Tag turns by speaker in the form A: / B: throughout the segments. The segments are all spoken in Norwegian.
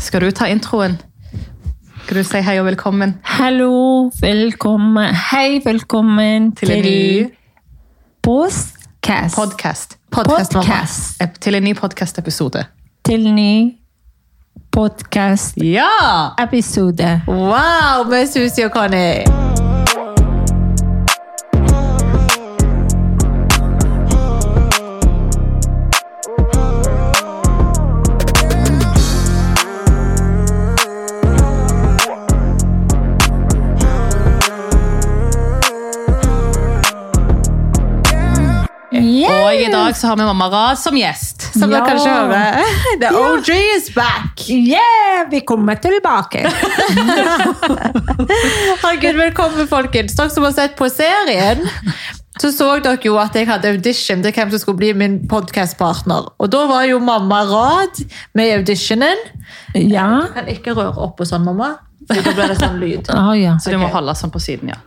A: Skal du ta introen? Skal du si hei og velkommen
B: Hallo, velkommen. Hei, velkommen
A: til en ny
B: podcast.
A: podcast?
B: Podcast.
A: Podcast. Eh, Til en ny podcast-episode.
B: til ny podcast
A: Ja!
B: episode.
A: Wow, med Susi og Conny!
B: Yeah.
A: Og i dag så har vi mamma Raz som gjest. Som
B: Ja.
A: dere kanskje hører. The OG is back!
B: Yeah, vi kommer tilbake.
A: Herregud, velkommen folkens. Dere som har sett på serien, så så dere jo at jeg hadde audition til hvem som skulle bli min podcastpartner. Og da var jo mamma Rad med i auditionen.
B: ja.
A: Kan ikke røre opp og sånn, mamma. For da blir det sånn lyd.
B: Å, ja.
A: Så du må
B: Ok.
A: holde sånn på siden, ja.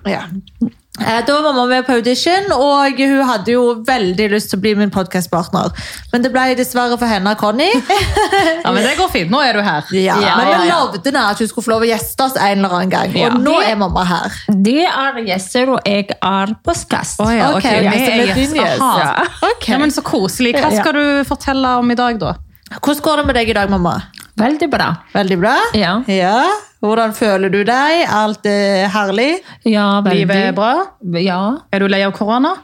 B: Ja.
A: Eh, Da var mamma med på audition, og hun hadde jo veldig lyst til å bli min podcastpartner. Men det ble dessverre for henne og Conny.
C: Ja, men det går fint. Nå er du her.
A: Ja, men
C: ja,
A: vi
C: ja.
A: lovde henne at hun skulle få lov å gjeste oss en eller annen gang.
C: Ja.
A: Og nå er mamma her.
B: De er gjester, og jeg er podcast.
C: Å, ja, ok.
A: Ok,
C: Vi
A: vi
C: er
A: er
C: gjest.
A: din gjest.
C: Aha.
B: Ja.
A: Ok.
C: Ja, men så koselig. Hva
B: Ja.
C: skal du fortelle om i dag, da?
A: Hvordan går det med deg i dag, mamma?
B: Veldig bra.
A: Veldig bra?
B: Ja,
A: Hvordan føler du deg? Alt er herlig?
B: ja veldig.
C: Livet er bra?
B: Ja.
C: Er du lei av korona?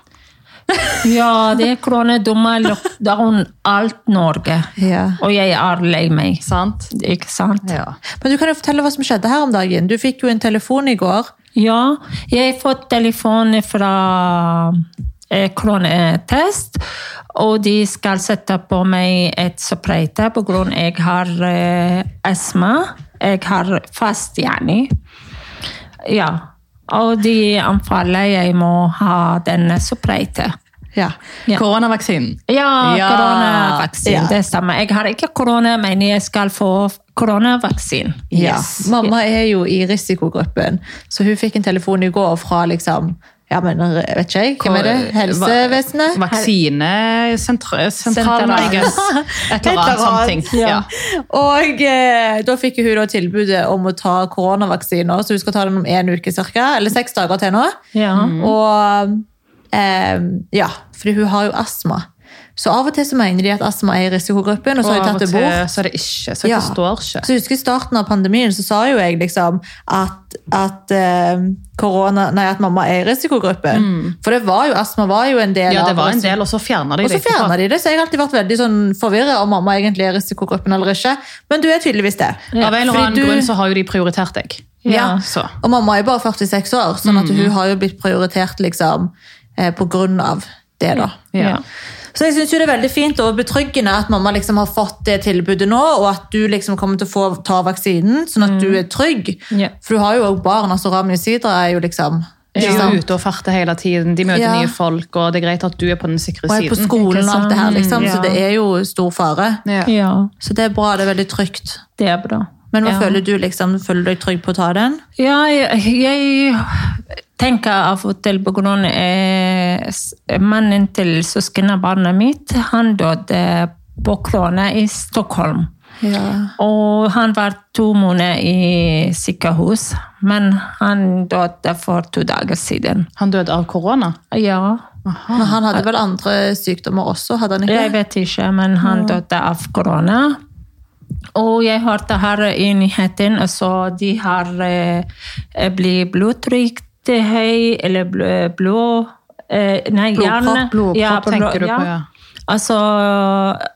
B: ja, det er koronadumme lockdown alt Norge.
A: Ja.
B: Og jeg er lei meg.
C: Sant?
B: Ikke sant?
C: Ja.
A: Men du kan jo fortelle hva som skjedde her om dagen. Du fikk jo en telefon i går.
B: Ja, jeg har fått telefon fra eh, koronatest, og de skal sette på meg et sprøyte på grunn jeg har eh, astma. Jeg har fast yani. Ja, og de anbefaler jeg må ha denne sprøyte.
A: Ja.
B: Ja.
C: Koronavaksinen.
B: Ja,
C: Ja.
B: koronavaksine.
A: Ja.
B: Det stemmer. Jeg har ikke korona, men jeg skal få koronavaksine.
A: Ja.
C: Yes.
A: Mamma er jo i risikogruppen, så hun fikk en telefon i går fra liksom ja, men jeg vet ikke jeg, hvem er det? Helsevesenet?
C: eh, Vaksine sentra, sentral,
B: Sentral.
C: I guess. Et eller
A: Et
C: annet sånt ting. Ja.
A: Og eh, da fikk hun da tilbudet om å ta koronavaksiner, så hun skal ta den om en uke cirka, eller seks dager til nå.
B: Ja.
C: Mm.
A: Og eh, ja, fordi hun har jo astma. Så av og til så mener de at astma er i risikogruppen, og så har
C: Og
A: de
C: av og
A: tatt det
C: til
A: bort.
C: så er det ikke. Så jeg
A: Ja.
C: forstår ikke.
A: Så jeg husker I starten av pandemien så sa jo jeg liksom at, at, eh, korona, nei, at mamma er i risikogruppen. For det var jo, astma var jo en del
C: Mm. Ja, det
A: av
C: var en del, og så fjerna de
A: Og så
C: det etterpå.
A: fjerna de det, så jeg har alltid vært veldig sånn forvirra om mamma egentlig er i risikogruppen eller ikke. Men du er tydeligvis det.
C: Av en eller
A: Fordi
C: annen
A: du-
C: grunn så har jo de prioritert deg.
B: Ja.
C: Så. Mm.
A: Og mamma er jo bare 46 år, sånn at hun har jo blitt prioritert liksom, eh, på grunn av det. da.
C: Ja.
A: Så jeg synes jo det er veldig fint og betryggende at mamma liksom har fått det tilbudet nå, og at du liksom kommer til å få ta vaksinen, sånn at du er trygg.
B: Mm. Ja.
A: For du har jo også barn, altså Rami Sidra er jo liksom
C: De
A: ikke
C: er jo
A: sant?
C: ute og farter hele tiden. De møter
A: Ja.
C: nye folk, og det er greit at du er på den sikre
A: Og er på
C: siden.
A: skolen og alt det her, liksom.
B: Ja.
A: Så det er jo stor fare.
C: Ja.
B: ja,
A: Så det er bra, det er veldig trygt.
B: det er bra.
A: Men hva
B: ja.
A: føler du, liksom? Føler du deg trygg på å ta den?
B: Ja, jeg, jeg tenker av og til på grunn av s- mannen til søskenbarnet mitt. Han døde på krona i Stockholm.
A: Ja.
B: Og han var to måneder i sykehus, men han døde for to dager siden.
C: Han døde av korona?
B: Ja,
A: Men han hadde vel andre sykdommer også, hadde han ikke?
B: jeg vet ikke, men han døde av korona. Og jeg hørte her i nyheten altså de har eh, blitt blodtrykk til høy, eller bl- blå eh, Nei,
A: Blodpropp,
B: hjerne.
C: blodpropp
B: blå-
C: tenker du på, ja.
B: Altså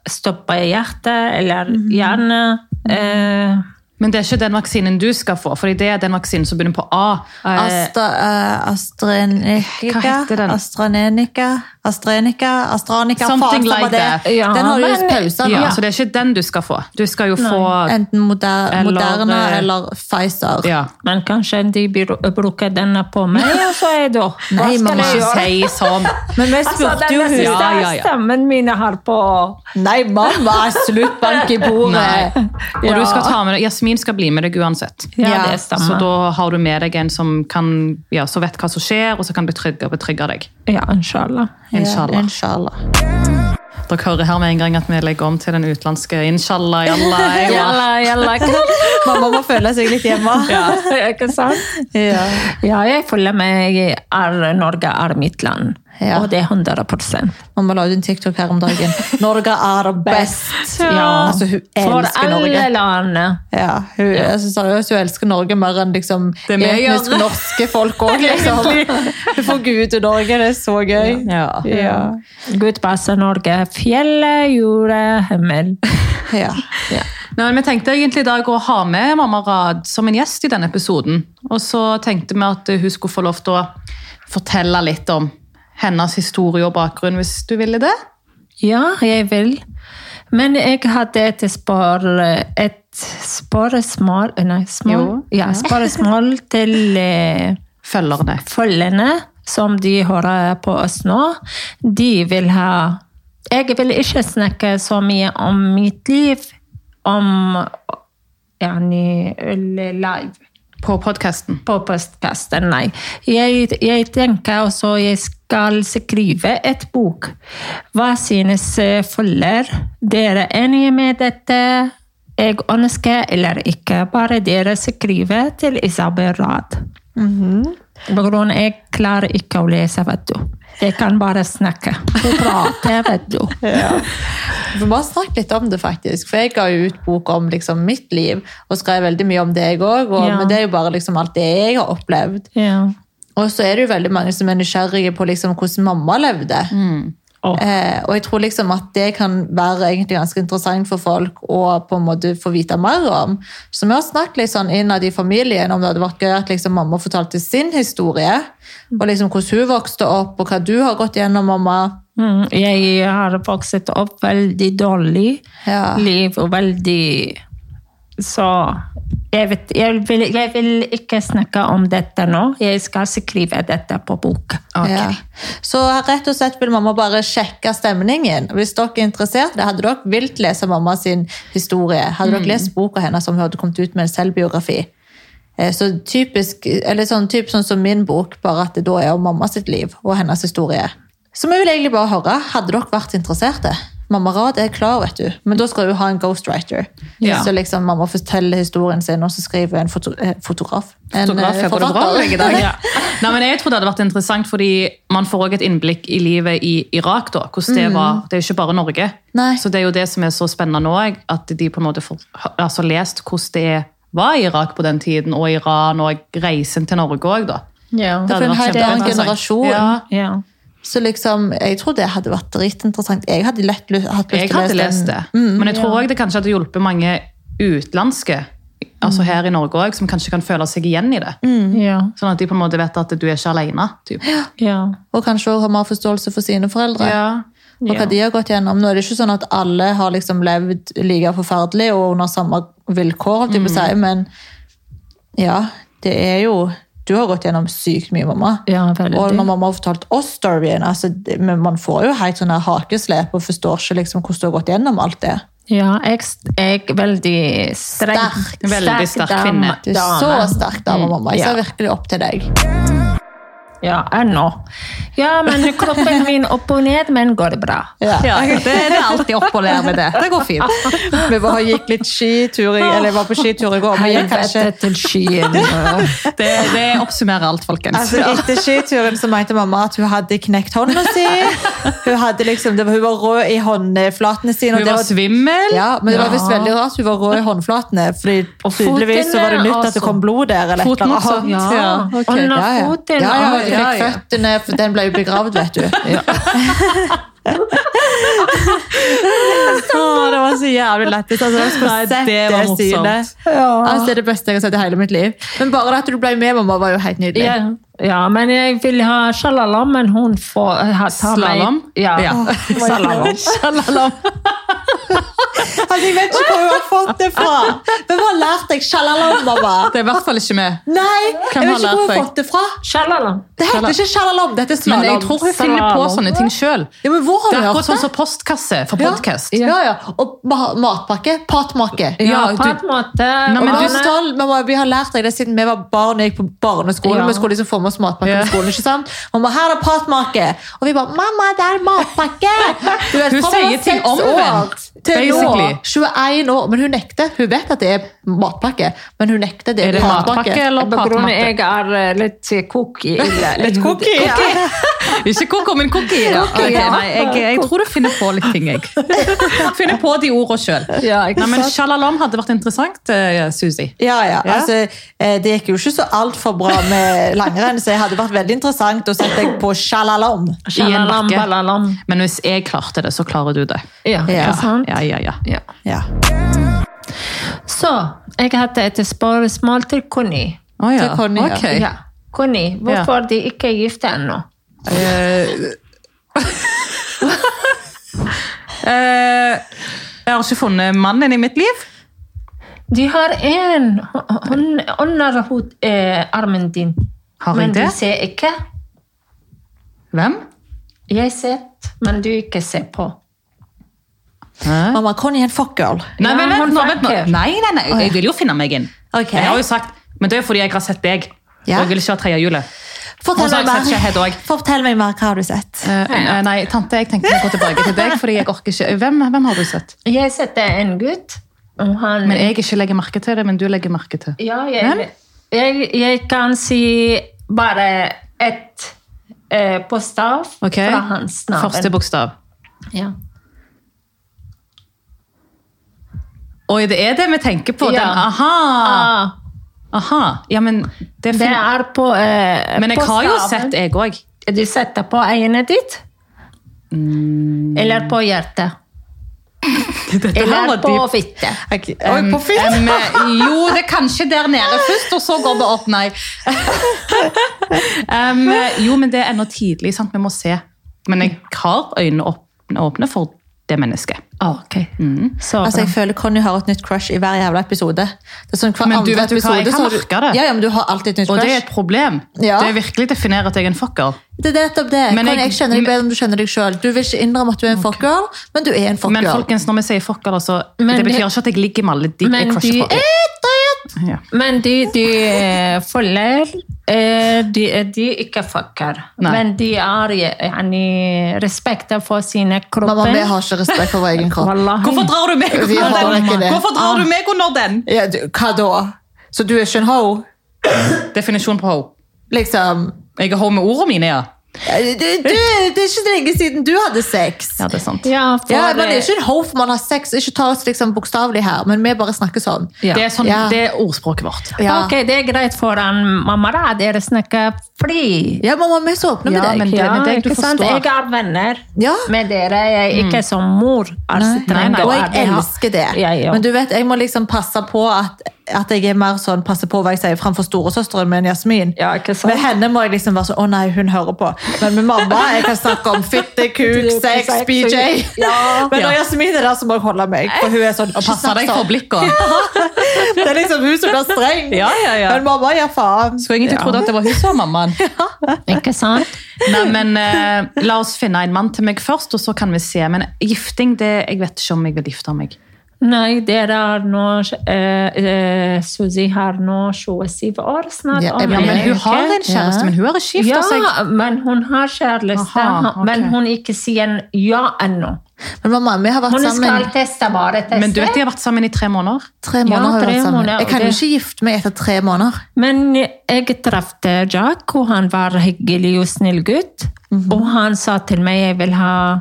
B: stopper hjertet eller hjerne. Eh,
C: Men det er ikke den vaksinen du skal få, fordi det er den vaksinen som begynner på A. Eh,
A: Astra, eh, AstraNeca,
C: Hva heter den?
A: AstraNeca, AstraNeca, AstraNeca,
C: Something
A: faen, samme
C: like
A: det.
C: that.
B: Ja,
A: Den har du
B: men-
A: jo pausa nå.
C: Sånn, ja, så det er ikke den du skal få. Du skal jo få
A: Enten moder
C: Eller,
A: Moderna
C: eh,
A: eller Pfizer.
C: ja.
B: men kanskje de br- bruker denne på meg, og så er det Hva
A: Nei,
B: skal
A: mamma.
B: jeg gjøre?
C: Si sånn.
A: Men vi spurte
B: Altså,
A: jo
B: denne
A: hun
B: siste
C: Ja, ja, ja.
B: stemmen min har på
A: Nei, mamma! Slutt bank i bordet!
C: Nei. Og
B: Ja.
C: du skal ta med deg, Jasmin skal bli med deg uansett.
B: Ja,
A: Ja,
B: det
C: Så
B: stemmer.
C: da har du med deg en som, kan, ja, som vet hva som skjer, og som kan betrygge, betrygge deg.
B: Ja, inshallah.
A: Ja,
C: Inshallah.
A: Inshallah.
C: Dere hører her med en gang at vi legger om til den utenlandske inshallah, jalla, jalla.
B: Jalla, jalla. hva-
A: Mamma må føle seg litt hjemme.
B: Ja, ikke sant?
A: Ja.
B: Ja, jeg føler meg er, Norge er mitt land.
A: Ja.
B: Og det er 100
A: Mamma la ut en TikTok her om dagen. Norge er best!
B: Ja.
A: Altså, hun
B: For
A: elsker Norge.
B: alle land.
A: Ja, hun, jeg synes seriøst, hun elsker Norge mer enn liksom,
C: Det vi gjør.
A: etnisk norske folk òg, liksom. Hun får gud til Norge, det er så gøy.
C: Ja.
A: Ja.
B: Gud passer Norge. Fjellet, jorda, himmel.
A: Ja.
C: Nei, men vi tenkte egentlig i dag å ha med mamma Rad som en gjest i denne episoden. Og så tenkte vi at hun skulle få lov til å fortelle litt om hennes historie og bakgrunn, hvis du ville det.
B: Ja, jeg vil. Men jeg hadde et, spår, et spørsmål eh, Nei, smål,
C: Jo,
B: ja, spørsmål til eh,
C: Følgerne.
B: følgende som de hører på oss nå. De vil ha Jeg vil ikke snakke så mye om mitt liv om yani, live
C: På podkasten.
B: på postkassen, nei. Jeg, jeg tenker også jeg skal skrive et bok. Hva synes eh, følger? Dere enige med dette? Jeg ønsker eller ikke, bare dere skriver til Isabel Rad.
A: Mhm.
B: På grunn av jeg klarer ikke å lese, vet du. Jeg kan bare snakke. og Prate, vet du.
A: Vi må snakke litt om det, faktisk. For jeg ga jo ut bok om liksom, mitt liv, og skrev veldig mye om deg òg. Og,
B: Ja.
A: Men det er jo bare liksom, alt det jeg har opplevd.
B: Ja.
A: Og så er det jo veldig mange som er nysgjerrige på liksom, hvordan mamma levde.
B: Og
A: Eh, og jeg tror liksom at det kan være egentlig ganske interessant for folk å på en måte få vite mer om. Så vi har snakket litt sånn innad i familien om det hadde vært gøy at liksom mamma fortalte sin historie. Og liksom hvordan hun vokste opp, og hva du har gått gjennom, mamma.
B: Mm, jeg har vokst opp veldig dårlig
A: Ja.
B: liv og veldig Så jeg, vet, jeg, vil, jeg vil ikke snakke om dette nå. Jeg skal skrive dette på bok.
A: Ja. Så rett og slett vil mamma bare sjekke stemningen. Hvis dere er interessert, hadde dere vilt lese mamma sin historie. Hadde
C: Mm.
A: dere lest boka hennes som hun hadde kommet ut med en selvbiografi. Eh, Så typisk, eller sånn, typ sånn som min bok, bare at det da er om mamma sitt liv og hennes historie. Så vi vil egentlig bare høre, hadde dere vært interesserte? Mamma Rad er klar, vet du, men da skal hun ha en ghostwriter.
B: Ja.
A: Så liksom mamma forteller historien sin, og så skriver en foto eh, fotograf. En,
C: Fotograf
A: eh,
C: er både bra og legge deg.
B: Ja.
C: Nei, men jeg tror det hadde vært interessant, fordi man får også et innblikk i livet i Irak. da, hvordan Det var, det er jo ikke bare Norge.
A: Mm. Nei.
C: Så det er jo det som er så spennende nå, jeg, at de på en måte får altså, lest hvordan det var i Irak på den tiden, og Iran, og reisen til Norge òg, da.
B: Ja.
C: Det hadde
A: For en
C: vært
A: helt annen
C: kjempeinteressant.
A: generasjon.
C: Ja.
B: ja.
A: Så liksom, jeg tror det hadde vært dritinteressant. Jeg hadde lett lyst, hatt lyst
C: Jeg hadde lest det,
A: Mm,
C: men jeg tror også det kanskje hadde hjulpet mange utenlandske altså
A: Mm.
C: her i Norge også, som kanskje kan føle seg igjen i det.
B: ja.
C: Sånn at de på en måte vet at du er ikke alene. Typ.
B: ja.
A: Og kanskje også ha mer forståelse for sine foreldre.
C: Ja.
A: Og hva
B: Ja.
A: de har gått gjennom. Nå er det ikke sånn at alle har liksom levd like forferdelig og under samme vilkår, holdt jeg på å
C: Mm.
A: si, men ja, det er jo Du har gått gjennom sykt mye, mamma.
B: Ja, veldig.
A: og når mamma har fortalt oss storyen altså, det- men Man får jo helt sånn her hakeslep og forstår ikke liksom hvordan du har gått gjennom alt det.
B: ja jeg, jeg er veldig streng.
A: Sterk.
C: Veldig sterk kvinne.
A: Du er
B: dame.
A: så sterk dame, mamma.
C: Mm.
A: Jeg ser virkelig opp til deg.
B: Ja, ennå. Ja, men kroppen min opp og ned, men går bra.
A: Ja.
C: det, er alltid opp og ned med det. Det går fint.
A: Vi bare gikk litt skitur i, eller var på skitur i går. Vi gikk kanskje,
B: Helvete til skyen.
C: Det, det oppsummerer alt, folkens.
A: altså, etter skituren så mente mamma at hun hadde knekt hånda si. Hun, hadde liksom, det var, hun var rød i håndflatene sine. og
C: Hun
A: det
C: var svimmel.
A: ja, men det var visst
B: Ja.
A: veldig rart hun var rød i håndflatene, fordi
B: Og
A: tydeligvis så var det
B: føttene,
A: nytt at
B: altså.
A: det kom blod der. Eller et
C: Foten
A: eller
C: også,
A: annet.
B: ja.
A: ok.
B: Under
A: ja, ja.
B: foten,
A: Ja, ja, hun
B: ja,
A: knekk
B: ja.
A: føttene, for den ble jo begravd, vet du. Å, det var så jævlig lættis. Altså, jeg skulle
C: Nei,
A: sett
C: det
A: det,
C: var morsomt.
A: synet. Altså, det er det beste jeg har sett i hele mitt liv. Men bare det at du ble med, mamma, var jo helt nydelig.
B: Ja, ja, men jeg vil ha sjalalom, men hun får eh, ha, ta
C: Slalom?
B: meg Ja.
C: Ja.
B: Slalom.
C: Sjalalom.
A: Altså, jeg vet ikke hvor hun har fått det fra. Hvem har lært deg sjalalom, mamma?
C: Det er i hvert fall ikke meg.
A: Nei, jeg vet
C: Hvem
A: ikke
C: har
A: hvor
C: lært
A: hun har
C: deg?
A: fått det fra.
B: Shalala.
A: Det heter ikke sjalalom, det heter
C: Men
A: slalom.
C: jeg tror hun finner på sånne ting sjøl.
A: Ja, men hvor
C: Det
A: har du
C: er
A: hørt
C: akkurat sånn
A: det?
C: som postkasse for podkast.
A: Ja, ja. Og ma matpakke. Patmakke.
B: Ja,
C: Ja,
B: på
C: du-
B: en måte.
C: Nei,
A: Og
C: men
A: barn
C: du-
A: er tolv, mamma, vi har lært deg det siden vi var barn og gikk på barneskolen.
B: Ja.
A: Vi skulle liksom få med oss matpakke
C: Ja.
A: på skolen. ikke sant? Mamma, her er patmakke! Og vi bare 'Mamma, det er matpakke!' Du vet,
C: Hun
A: fra vi var
C: sier ting
A: seks
C: omvendt,
A: år Til nå,
C: basically.
A: 21 år. Men hun nekter. Hun vet at det er matpakke, men hun nekter det.
C: Er det matpakke
A: matpakke?
C: eller
B: På grunn av
C: patmatte?
B: jeg er eh, litt cookie. eller-
A: Litt cookie, ja.
C: Ikke koko, men cookie. Ja.
B: Cookie,
C: Ok,
B: ja.
C: Nei, jeg, jeg tror du finner på litt ting, jeg. Finner på de ordene sjøl.
B: Ja, ikke sant?
C: Sjalalom hadde vært interessant, eh, Susi.
A: Ja, ja.
C: Ja.
A: Altså, eh, det gikk jo ikke så altfor bra med langrenn, så det hadde vært veldig interessant å sette deg på sjalalom.
B: Shalalam,
C: bakke.
B: balalam.
C: Men hvis jeg klarte det, så klarer du det.
B: Ja,
A: Ja.
B: ikke sant?
C: Ja, ja, ja.
B: Ja.
A: Ja.
B: Så, jeg hadde et spørsmål til Conny.
C: Å, ja.
A: Til Conny, ja.
C: Ok.
B: Ja. Conny, hvorfor de ikke er gifte ennå?
C: Eh, jeg har ikke funnet mannen i mitt liv.
B: De har én hun under hod, eh, armen din.
C: Har jeg
B: men
C: det?
B: du ser ikke.
C: Hvem?
B: Jeg ser, men du ikke ser på.
C: Hæ?
A: Mamma, Conny er en fuckgirl.
C: Nei,
B: Ja,
C: men vent
B: hun
C: nå, vent nå.
B: vakker.
C: Nei, nei, nei, jeg vil jo finne meg inn.
A: Ok.
C: Jeg har jo sagt, men det er fordi jeg har sett deg.
A: Ja.
C: Og jeg vil ikke ha tredje hjulet.
A: Fortell
C: Hun sa
A: meg,
C: jeg sett Shahed
A: mer.
C: også.
A: Fortell meg mer. Hva har du sett?
C: Eh, nei, tante, jeg tenkte å gå tilbake til deg, fordi jeg orker ikke. Hvem, hvem har du sett?
B: Jeg sette en gutt. og Han,
C: Men jeg ikke legger merke til det, men du legger merke til.
B: ja,
C: Hvem?
B: jeg, jeg, jeg kan si bare ett eh, postav
C: Ok.
B: fra hans navn.
C: Første bokstav.
B: Ja.
C: Oi, det er det vi tenker på.
B: Ja.
C: Den, aha!
B: Ah,
C: Aha. Ja, men det
B: det
C: finner
B: er på eh,
C: Men jeg har jo
B: postaven.
C: sett jeg òg.
B: Du setter på øynene ditt?
C: Mm.
B: Eller på hjertet? Eller på fitte?
A: Oi, på fisk?
C: eh, jo, det er kanskje der nede først, og så går det opp, nei. Em, jo, men det er ennå tidlig, sant? vi må se. Men jeg har øynene åpne, åpne for det mennesket.
B: Ok. Så
A: Altså,
B: bra.
A: jeg føler Conny har et nytt crush i hver jævla episode. Det er sånn hver
C: Men du
A: andre
C: vet jo hva,
A: episode,
C: jeg kan
A: så har du-
C: merke det.
A: Ja, ja, men du har alltid et nytt
C: Og det
A: crush.
C: er et problem.
A: Ja.
C: Det er virkelig definerer at jeg er en fucker.
A: Det er nettopp det.
C: Men
A: Conny,
C: jeg-
A: jeg kjenner deg bedre enn du kjenner deg selv. Du vil ikke innrømme at du er en fuckgirl, men du er en fuckgirl.
C: Men folkens, når vi sier fucker, altså,
B: Men
C: det
B: det-
C: betyr ikke at jeg ligger med alle de
B: Men
C: jeg crusher
B: du
C: på. Ja.
B: Men de, de eh, følger eh, de, de ikke fucker.
C: Nei.
B: Men de har yani, respekt for sine kroppen.
A: Mamma, vi har ikke respekt for vår egen kropp.
B: Wallahi.
C: Hvorfor drar du meg
A: Vi
C: under
A: har
C: den?
A: ikke det. Ah.
C: Hvorfor drar du meg under den?
A: Ja, du, hva da? Så du er ikke en ho?
C: Definisjon på ho.
A: Liksom eh,
C: Jeg er ho med ordene mine, ja.
A: du, du, Det er ikke så lenge siden du hadde sex.
C: Ja, det er sant.
B: Ja, for,
A: Ja, man er
B: eh,
A: ikke en ho for man har sex. Ikke ta oss liksom bokstavelig her, men vi bare snakker sånn.
C: Det, er sånn,
A: Ja.
C: det er ordspråket vårt.
A: Ja.
B: Ok, det er greit for en mamma, da. Dere snakker fri.
A: Ja, mamma, vi er så åpne med
C: Ja,
A: deg.
C: men- det- det- du
B: ikke sant?
C: forstår.
B: Jeg er venner
A: Ja.
B: med dere. Jeg er ikke som mor. Altså,
C: Nei, nei,
B: trenger å
A: Og jeg
B: være-
A: elsker det.
B: Ja, ja.
A: Men du vet, jeg må liksom passe på at, at jeg er mer sånn, passe på hva jeg sier framfor storesøsteren min, Jasmin.
B: Ja, ikke sant?
A: Med henne må jeg liksom være sånn Å nei, hun hører på. Men med mamma jeg kan snakke om fitte, kuk, sex, BJ.
B: Ja.
A: Men
C: Ja.
A: når Jasmin er der, så må jeg holde meg. For hun er sånn
C: Og
A: «Ikke
C: passe
A: snakk
C: deg for
A: sånn».
C: blikkene.
A: Det er liksom hun som blir streng.
C: Ja, ja, ja.
A: Men mamma gir faen.
C: Skulle egentlig trodd at det var hun som var mammaen.
B: Ikke sant?
C: Nei, men eh, La oss finne en mann til meg først, og så kan vi se. Men gifting, det, jeg vet ikke om jeg vil gifte meg.
B: Nei, dere er nå eh, eh, Suzy har nå 27 år snart.
A: Ja,
B: om
A: men
C: Ja,
B: en
C: men Hun
B: uke.
C: har en kjæreste,
A: Ja.
C: men hun har ikke gifta
B: Ja,
C: seg.
B: men hun har kjæreste,
C: Aha, ok.
B: men hun ikke sier ja ennå.
A: Men mamma, vi har vært
B: Hun skal
A: sammen
B: teste bare teste.
C: Men du vet, de har vært sammen i tre måneder.
A: tre måneder. har vi
B: tre
A: vært sammen.
B: måneder,
A: Jeg kan
B: og
A: jo
B: det-
A: ikke gifte meg etter tre måneder.
B: Men jeg traff Jack, og han var hyggelig og snill gutt. Og han sa til meg jeg vil ha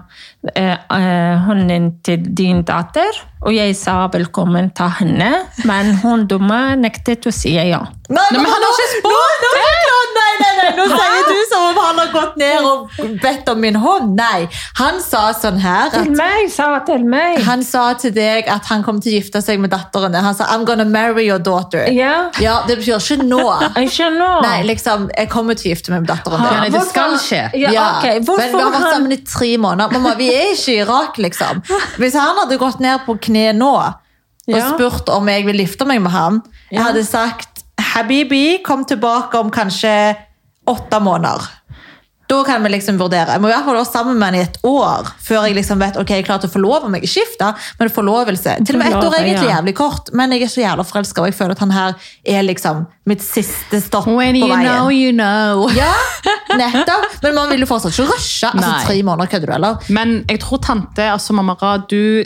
B: eh, eh, hunden til din datter. Og jeg sa velkommen, ta henne. Men hun dumme nektet å si ja.
A: Nei,
C: men han har ikke spurt
A: det! Nei, nei, nei, nå sier du som om han har gått ned og bedt om min hånd. Nei, han sa sånn her
B: Til
A: at
B: meg, sa han til meg.
A: han sa til deg at han kom til å gifte seg med datteren din. Han sa 'I'm gonna marry your daughter'.
B: Ja.
A: Det betyr ikke nå.
B: Ikke nå.
A: Nei, liksom, jeg kommer til å gifte meg med datteren
B: Ja,
A: din.
C: Nei, det
B: hvorfor-
C: skal skje.
B: Ja, ok.
A: Men vi
B: Hvorfor
A: har vært
B: han
A: sammen i tre måneder. Mamma, vi er ikke i Irak, liksom. Hvis han hadde gått ned på kne nå og
B: Ja.
A: spurt om jeg vil gifte meg med han, jeg
B: Ja.
A: hadde sagt Habibi, kom tilbake om kanskje åtte måneder. Da kan vi liksom vurdere. Jeg må i hvert fall være sammen med han i et år før jeg liksom vet ok, jeg er klar til å forlove meg. Ikke gifte, men forlovelse. Til og med ett år
B: Forlove,
A: er egentlig
B: ja.
A: jævlig kort, men jeg er så jævla forelska, og jeg føler at han her er liksom mitt siste stopp på
C: When
A: veien.
C: you know, you know.
A: Ja, nettopp. Men man vil jo fortsatt ikke rushe. Altså,
C: Nei.
A: tre måneder kødder du, eller?
C: Men jeg tror tante, altså mamma Ra, du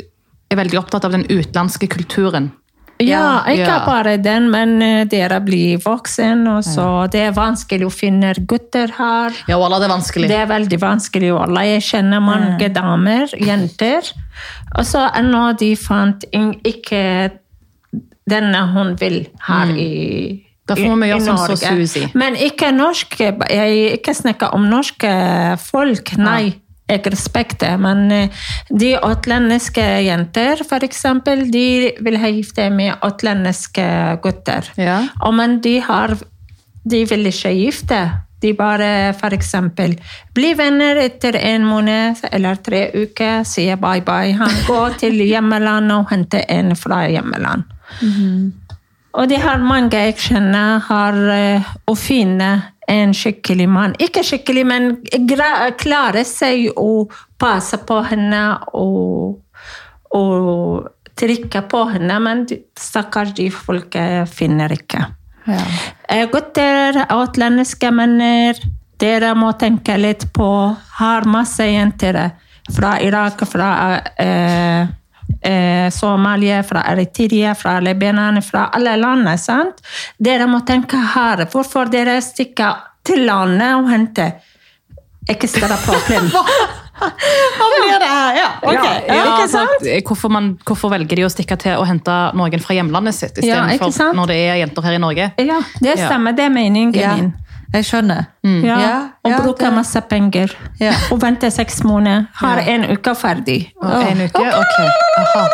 C: er veldig opptatt av den utenlandske kulturen.
B: Ja, ikke
C: Ja.
B: bare den, men eh, dere blir voksen, og så det er vanskelig å finne gutter her.
C: Ja, wallah, det er vanskelig.
B: Det er veldig vanskelig. Wallah. Jeg kjenner mange damer, jenter. Og så ennå de fant in- ikke denne hun vil her i
C: Mm. Da får vi
B: i- i
C: gjøre som så
B: Norge.
C: Susi.
B: Men ikke norsk. Jeg ikke snakker om norske folk, nei. Jeg respekter, men eh, de utlendiske jenter, for eksempel, de vil ha gifte med utlendiske gutter.
C: Ja.
B: Og men de har De vil ikke gifte. De bare for eksempel blir venner etter en måned eller tre uker, sier bye bye. Han går til hjemmelandet og henter en fra hjemmeland. Og de har mange jeg kjenner har eh, å finne en skikkelig mann. Ikke skikkelig, men gra- klarer seg å passe på henne og, og trykke på henne. Men de- stakkars de folket finner ikke.
A: Ja.
B: Eh, Gutter, utlendiske menner, dere må tenke litt på Har masse jenter eh, fra Irak, fra eh, eh, Somalia, fra Eritrea, fra Libanon, fra alle landene. sant? Dere må tenke her. Hvorfor dere stikker til landet og henter ekstra problem?
A: Hva blir det her? Ja, altså. ok.
B: Ja, ikke sant?
C: for- altså, eh, Hvorfor, man, hvorfor velger de å stikke til og hente noen fra hjemlandet sitt
B: Ja, ikke
C: istedenfor
B: sant?
C: når det er jenter her i Norge?
B: ja, det
C: Ja.
B: stemmer. Det er meningen
A: Ja.
B: min.
A: Jeg skjønner.
B: Ja,
A: Mm. Ja,
B: og
A: ja,
B: bruke
A: det-
B: masse penger.
A: Ja.
B: Og vente seks måneder. Har en uke ferdig.
C: Og En uke? Ok. Aha.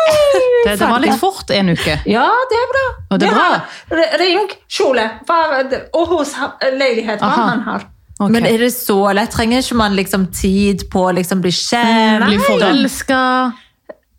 C: Det, det var litt fort, en uke.
B: Ja, det er bra.
C: Og det er bra.
B: har- Ring kjole. Hva- Og hos ha- eh, leilighet. Hva
C: Aha.
B: han har.
C: Ok.
A: Men er det så lett? Trenger ikke man liksom tid på å liksom bli kjent?
C: Bli
B: Nei.
C: forelska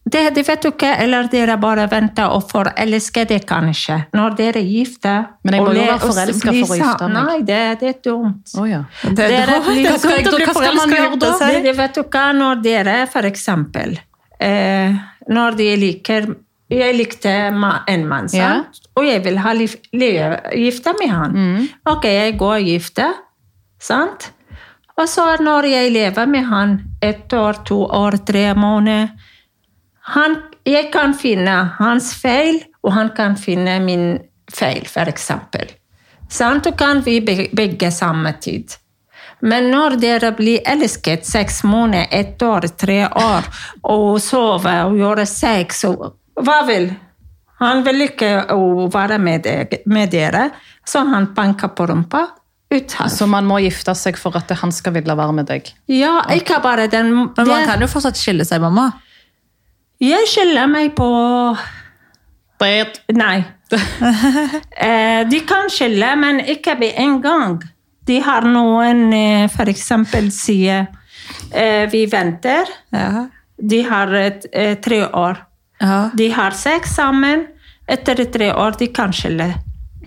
B: Det, det vet du ikke, eller dere bare venter og forelsker det kanskje. Når dere er gifte
C: Men jeg må
B: og
C: jo
B: le-
C: være
B: og
C: forelsket
B: bli
C: for å gifte
B: sa-
C: meg.
B: Nei, det, det er dumt.
C: Å ja.
A: Det
B: Dere
A: er dumt.
B: blir-
A: Hva skal jeg-
C: Hva skal man gjøre da?
B: Det, det vet du hva, når dere for eksempel eh, Når de liker Jeg likte ma- en
C: Ja.
B: mann, sant? og jeg vil ha liv, le- gifte med han.
C: Mm.
B: Ok, jeg går og gifte, sant? Og så når jeg lever med han ett år, to år, tre måneder han, Jeg kan finne hans feil, og han kan finne min feil, for eksempel. Sant? Og kan vi be- begge samme tid. Men når dere blir elsket seks måneder, ett år, tre år, og sover og gjør sex, og hva vil Han vil ikke å være med, deg, med dere, så han banker på rumpa. Ut her.
C: Så man må gifte seg for at han skal ville være med deg.
B: Ja, ikke bare den
A: Men man
B: det-
A: kan jo fortsatt skille seg, mamma.
B: Jeg skylder meg på Nei. Eh, de kan skylde, men ikke med en gang. De har noen eh, for eksempel sier eh, Vi venter.
A: Ja.
B: De har et, eh, tre år.
A: Ja.
B: De har sex sammen. Etter tre år de kan skylde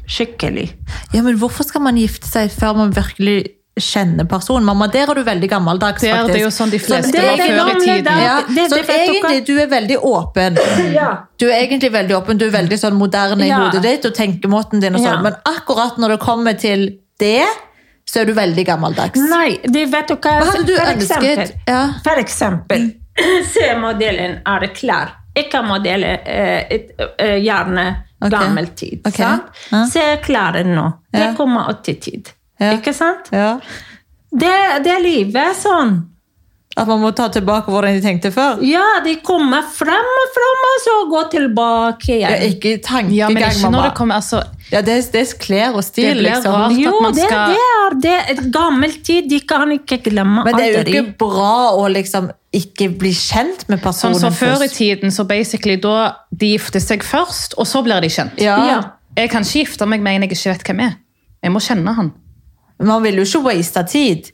B: skikkelig.
A: ja, men hvorfor skal man gifte seg før man virkelig kjenner personen? Mamma, der er du veldig gammeldags,
C: Det er-
A: faktisk.
C: det er jo sånn de fleste
A: det er
B: var
A: det
B: før i
A: gamle
B: tiden.
A: dager. Ja.
B: Det- det
A: Så
B: vet dere.
A: egentlig, du er veldig åpen.
B: Ja.
A: Du er egentlig veldig åpen, du er veldig sånn moderne i
B: Ja.
A: hodet ditt og tenkemåten din og sånn,
B: Ja.
A: men akkurat når det kommer til det, så er du veldig gammeldags.
B: Nei, de vet jo hva
A: Hva hadde du
B: For
A: ønsket?
B: eksempel-
A: Ja. Mm.
B: For eksempel, se modellen er klar. Ikke modellen eh, et, eh, gjerne
A: Ok.
B: gammel tid.
A: Ok.
B: Sant?
A: Ja.
B: Se klaren nå. Det
A: Ja.
B: kommer 80-tid.
A: Ja.
B: Ikke sant?
A: Ja.
B: Det, det livet er sånn.
A: At man må ta tilbake hvordan de tenkte før?
B: Ja, de kommer frem og frem, og så går tilbake
A: Ja,
B: igjen.
A: ikke tankegang,
C: Ja, men ikke når
A: mamma.
C: det kommer altså,
A: Ja, det, det kler og
C: Det
A: stil,
C: blir
A: liksom.
C: rart. at
B: Jo,
C: man
B: det,
C: skal-
B: det er det. Et gammel tid, de kan ikke glemme
A: Men det er jo
B: aldri.
A: ikke bra å liksom ikke bli kjent med
C: Sånn
A: personen
C: som før i
A: først.
C: tiden, så basically da de gifter seg først, og så blir de kjent.
A: Ja.
B: Ja.
C: Jeg kan ikke gifte meg med en jeg ikke vet hvem er. Jeg må kjenne han.
A: Man vil jo ikke waste tid.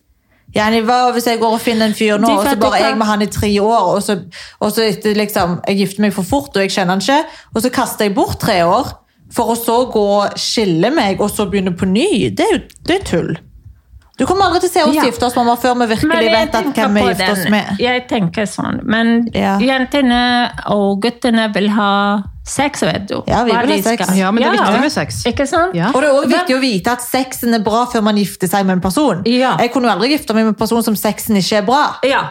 A: Gjerne, hva hvis jeg går og finner en fyr nå,
B: De
A: og så
B: vet
A: bare
B: ikke.
A: er jeg med han i tre år, og så, og så etter, liksom, jeg gifter meg for fort, og jeg kjenner han ikke, og så kaster jeg bort tre år, for å så gå og skille meg, og så begynne på ny. Det er jo det er tull. Du kommer aldri til å se oss
B: Ja.
A: gifte oss, mamma, før vi virkelig
B: jeg
A: vet at
B: tenker
A: hvem vi
B: på
A: gifter oss
B: den.
A: med.
B: Jeg tenker sånn. Men
A: Ja.
B: jentene og guttene vil ha sex, vet du.
A: Ja, vi
B: Hva
A: vil ha
B: de
A: sex.
B: skal.
C: Ja, men det er viktig med sex.
B: Ikke sant?
C: Ja.
A: Og det er også viktig å vite at sexen er bra før man gifter seg med en person.
B: Ja.
A: Jeg kunne jo aldri gifte meg med en person som sexen ikke er bra.
B: Ja.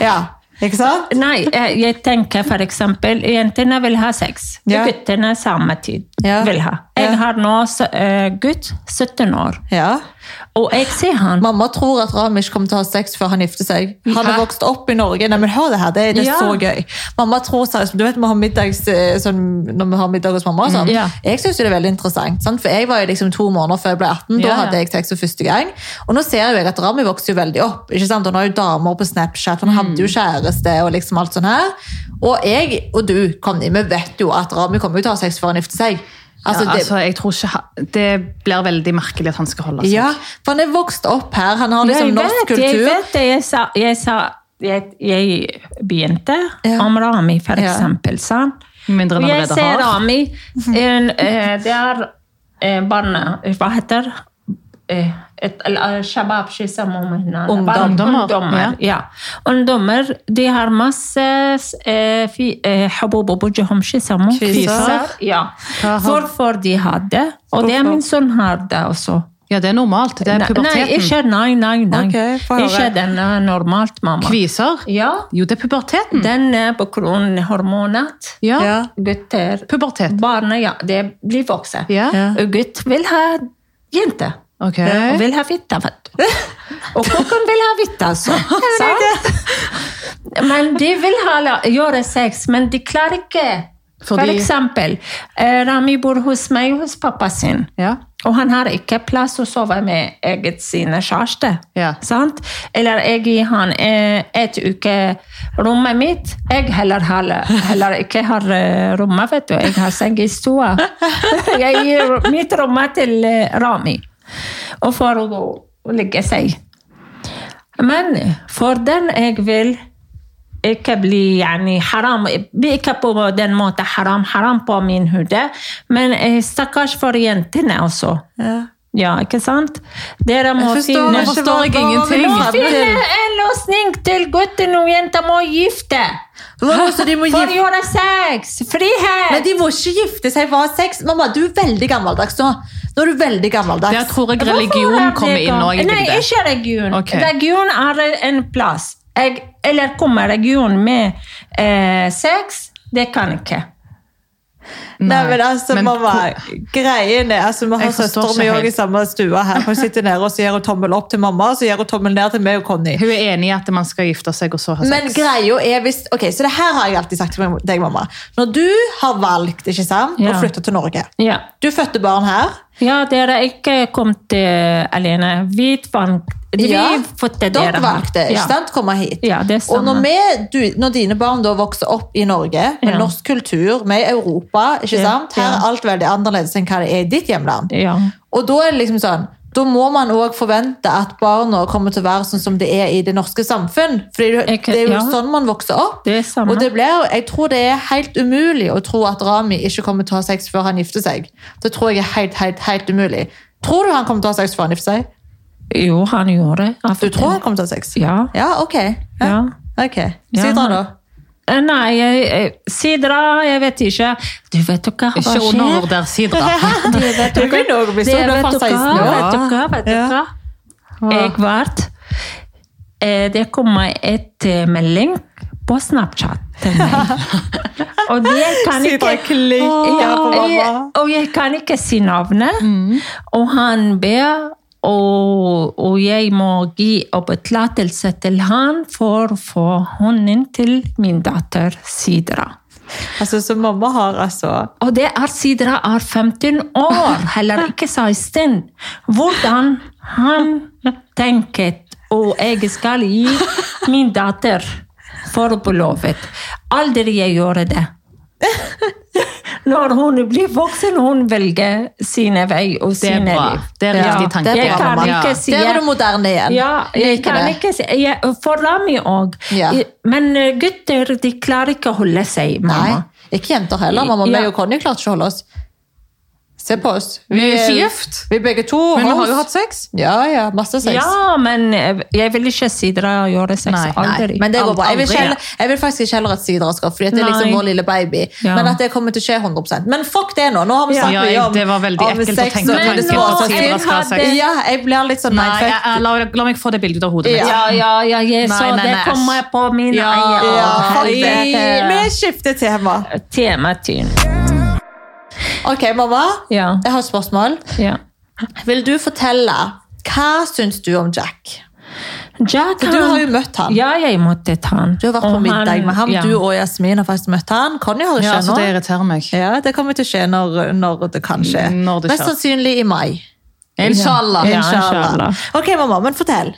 A: Ja, ikke sant?
B: Nei, jeg, jeg tenker for eksempel, jentene vil ha sex.
A: Ja.
B: Guttene samme tid
A: Ja.
B: vil ha.
A: Ja.
B: Jeg har nå så, eh, gutt, 17 år,
A: Ja.
B: og jeg ser han.
A: Mamma tror at Ramish kommer til å ha sex før han gifter seg. Han har
B: Hæ?
A: vokst opp i Norge. Nei, men hør det her, det, det er
B: Ja.
A: så gøy. Mamma tror seriøst, du vet vi har middags, eh, sånn, når vi har middag hos mamma og sånn.
B: Mm, ja.
A: Jeg synes jo det er veldig interessant, sant? for jeg var jo liksom to måneder før jeg ble 18, da
C: Ja, ja.
A: hadde jeg sex for første gang. Og nå ser jo jeg at Rami vokser jo veldig opp, ikke sant? Han har jo damer på Snapchat, han hadde
B: Mm.
A: jo kjæreste og liksom alt sånn her. Og jeg og du, Conny, vi vet jo at Rami kommer jo til å ha sex før han gifter seg. Altså,
C: ja,
A: det,
C: altså, jeg tror ikke ha- Det blir veldig merkelig at han skal holde seg.
A: ja, for han er vokst opp her, han har liksom
B: altså. jeg vet,
A: norsk
B: Jeg
A: kultur.
B: vet det. Jeg sa, jeg, sa, jeg, jeg begynte
A: Ja.
B: om Rami, for
A: Ja.
B: eksempel. Sant?
C: Mindre enn han
B: Og jeg
C: allerede
B: ser
C: har.
B: Rami en, eh, Det er eh, barna Hva heter eh, et- eller, eh, Shabab, skisse, momina.
A: Ungdom.
B: Barn-
C: Ungdommer,
B: Ungdommer, ja. Ungdommer de har masse eh, fi- eh, حبوب وبوجهم شو يسموه؟
A: Kviser.
B: Ja.
C: Jaha.
B: Hvorfor de har det? Og det er min sønn har det også.
C: Ja, det er normalt. Det er
B: Nei,
C: Eh, puberteten.
B: Nei, ikke, nei, nei, nei.
A: Ok, få høre.
B: ikke den er normalt, mamma.
C: Kviser?
B: Ja,
C: Jo, det er puberteten.
B: den er på grunn av hormonet.
C: Mm. Ja.
A: Ja.
B: Gutter,
C: Pubertet.
B: barna, ja, det blir vokse.
C: Ja.
A: Ja.
B: Og gutt vil ha jente.
C: Ok.
B: Og vil ha fitte, vet du. Og kokken vil ha fitte, altså. Sant? Men de vil ha, la- gjøre sex, men de klarer ikke. For
C: Fordi-
B: eksempel, eh, Rami bor hos meg hos pappa sin.
C: Ja.
B: Og han har ikke plass å sove med eget sine kjæreste.
C: Ja.
B: Sant? Eller jeg gir han eh, et uke rommet mitt. Jeg heller, heller, heller ikke har eh, rommet, vet du. Jeg har seng i stua. Jeg gir mitt rommet til eh, Rami. Og for å gå og ligge seg. Men for den jeg vil ikke bli yani, haram, bli ikke på den måten haram, haram på min hode, men eh, stakkars for jentene også.
A: Ja.
B: Ja, ikke sant? Dere må
A: Jeg forstår
B: finne,
A: ikke
C: forstår jeg
A: hva- hva
C: ingenting.
A: vil du
B: må
A: frem
B: finne
A: til?
B: en løsning til gutten og jenta må gifte.
A: Hva, så de må
B: For å
A: gifte
B: gjøre sex! Frihet!
A: Nei, de må ikke gifte seg for å ha sex. Mamma, du er veldig gammeldags nå. Nå er du veldig gammeldags.
C: Der tror jeg
B: Hvorfor
C: religion
B: er
C: kommer
B: det
C: inn nå.
B: gam- Nei,
C: egentlig.
B: ikke religion.
C: Ok.
B: Religion er en plass. Jeg, eller kommer religion med eh, sex? Det kan ikke.
A: Nei, men altså,
C: Men
A: mamma, greien er altså, Vi har
C: Jeg forstår
A: søsteren min
C: ikke
A: også i
C: helt.
A: samme stua her. Hun sitter nede og så gir hun tommel opp til mamma, og så gir hun tommel ned til meg og Conny.
C: Hun er enig i at man skal gifte seg og så ha sex.
A: Men greia er hvis Ok, så det her har jeg alltid sagt til deg, mamma. Når du har valgt ikke sant, å
B: Ja.
A: flytte til Norge
B: Ja.
A: Du fødte barn her.
B: Ja, dere er ikke kommet eh, alene. Vi tvang Vi
A: Ja,
B: fått det
A: Dere
B: dere har.
A: valgte ikke
B: ja.
A: sant, komme hit.
B: Ja, det
A: Og når,
B: stemmer.
A: vi, du, når dine barn da vokser opp i Norge, med
B: Ja.
A: norsk kultur, med Europa, ikke
B: Ja,
A: sant? her er
B: ja.
A: alt veldig annerledes enn hva det er i ditt hjemland.
B: Ja.
A: Og da er det liksom sånn, da må man òg forvente at barna kommer til å være sånn som det er i det norske samfunn. For det
B: Jeg kan-
A: er jo
B: ja.
A: sånn man vokser opp.
B: Det er samme.
A: Og det blir, jeg tror det er helt umulig å tro at Rami ikke kommer til å ha sex før han gifter seg. Det tror jeg er helt, helt, helt umulig. Tror du han kommer til å ha sex før han gifter seg?
B: Jo, han gjorde
A: Du tror han kommer til å ha sex?
B: Ja.
A: Ja, ok. Ja.
B: ja.
A: Ok,
B: Ja,
A: Sidra
B: han-
A: da?
B: Eh, Nei, jeg, jeg- Sidra, jeg vet ikke. Du vet jo hva hva
C: Ikke
B: skjer?
C: undervurder Sidra.
B: Det vet
A: Det begynner å bli stor,
B: Det
A: du
B: vet
A: er fast
B: dere,
A: 16
B: Vet dere,
A: år.
B: vet
A: Ja.
B: dere. Jeg vart eh, Det kom meg et eh, melding på Snapchat til meg. Og det kan
A: Sidra
B: ikke
A: klikker
B: Ja,
A: på
B: jeg,
A: mamma.
B: og jeg kan ikke si navnet. Og han ber Og, og jeg må gi opptillatelse til han for å få hunden til min datter Sidra.
A: Altså, så mamma har altså
B: Og det er Sidra er 15 år, heller ikke 16. Hvordan han tenket og jeg skal gi min datter forbelovet. Aldri jeg gjorde det. Når hun blir voksen, hun velger sine vei og
C: er
B: sine
C: bra.
B: liv.
C: Det er riktig
B: Ja,
C: tanke.
A: det er
B: Jeg
A: bra,
B: kan
A: mamma.
B: ikke
C: Ja.
B: si
A: Der er du moderne igjen.
B: ja, jeg
A: Liker
B: kan
A: det.
B: ikke si jeg, For Rami òg.
A: Ja.
B: Men eh, gutter de klarer ikke å holde seg,
A: Nei,
B: mamma.
A: ikke jenter heller. Mamma,
B: Ja.
A: meg og Conny klarte ikke å holde oss. Se på oss.
C: Vi er ikke gift.
A: Vi er begge to
C: Men vi
A: hoes.
C: har jo hatt sex.
A: Ja, ja, masse sex.
B: Ja, men eh, jeg vil ikke si dere gjør det sex.
C: Nei, nei,
B: aldri.
A: Men det går bra. Jeg vil,
C: Aldri.
A: ikke heller, jeg vil faktisk ikke heller at Sidra skal, fordi at det er liksom
B: Nei.
A: vår lille baby.
B: Ja.
A: Men at det kommer til å skje 100 Men fuck det nå! Nå har vi
B: Ja.
A: snakket mye
C: Ja,
A: om,
C: det var veldig
A: om
C: ekkelt å
A: sex
C: tenke
A: og
B: på,
A: tenke
B: tenke på
A: på
B: at
A: at
B: Sidra
A: Sidra
B: skal ha
A: skal
B: sex.
A: Ja, jeg blir litt sånn
C: Nei, jeg,
A: mindfucked.
C: jeg, la, la meg få det bildet ut av hodet mitt.
A: Ja.
B: Ja, ja, ja, jeg så
C: Nei, nei,
B: det
C: nei,
B: kommer
C: æsj.
B: på mine
C: Ja,
B: øyne.
A: Ja,
C: Å,
A: fuck det.
B: helvete.
A: Vi skifter tema.
B: Tema til.
A: Ok, mamma.
B: Ja.
A: Jeg har et spørsmål.
B: Ja.
A: Vil du fortelle hva syns du om Jack?
B: Jack,
A: For du
B: han-
A: har jo møtt han.
B: Ja, jeg måtte ta han.
A: Du har vært
B: Og
A: på middag med ham.
B: ja.
A: Du og Jasmin har faktisk møtt han. Conny har
C: Ja,
A: ikke
C: så
A: nå.
C: altså, det irriterer meg.
A: Ja, det kommer til å skje når, når det kan skje.
C: Mm, Når det
A: Mest
C: skjer.
A: sannsynlig i mai.
C: Inshallah.
B: Ja.
A: Inshallah.
B: inshallah.
A: Ok, mamma, men fortell.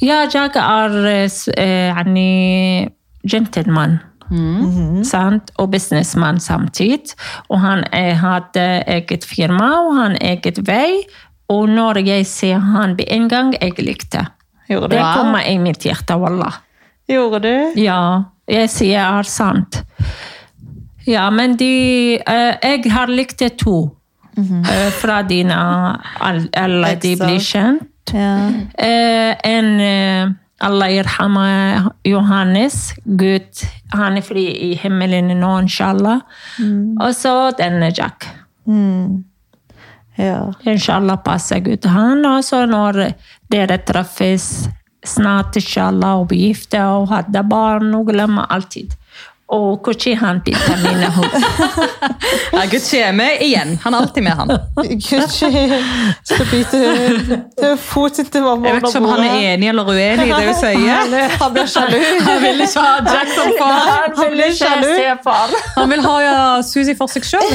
B: Ja, Jack er eh, s- eh, يعني gentleman.
A: Mhm.
B: Sant? Og businessman samtidig. Og han eh, hadde eget firma og han eget vei. Og når jeg ser han med en gang, jeg likte.
A: Gjorde
B: Det
A: du?
C: Wow.
B: kommer i mitt hjerte, wallah.
A: Gjorde du?
B: Ja, jeg sier er sant. Ja, men de eh, Jeg har likt det to. eh, fra dine all- Alle de
A: Ekser.
B: blir kjent.
A: Ja.
B: Eh, en eh, Allah irhama Johannes, Gud, han er fri i himmelen nå, inshallah. Og så denne Jack.
A: ja.
B: Inshallah passer Gud han, og så når dere treffes snart, inshallah, og blir gifte og hadde barn, og glemmer alltid. Og hvordan han biter mine hår.
C: Ja, Gud kommer igjen. Han er alltid med, han.
A: Gud, skal bite foten til mamma
C: Jeg vet ikke om han er enig eller uenig i det vi sier.
A: Han blir sjalu.
C: Han vil ikke ha Jack som far.
A: Han blir sjalu.
B: far.
C: Han vil ha ja, Susi for seg sjøl,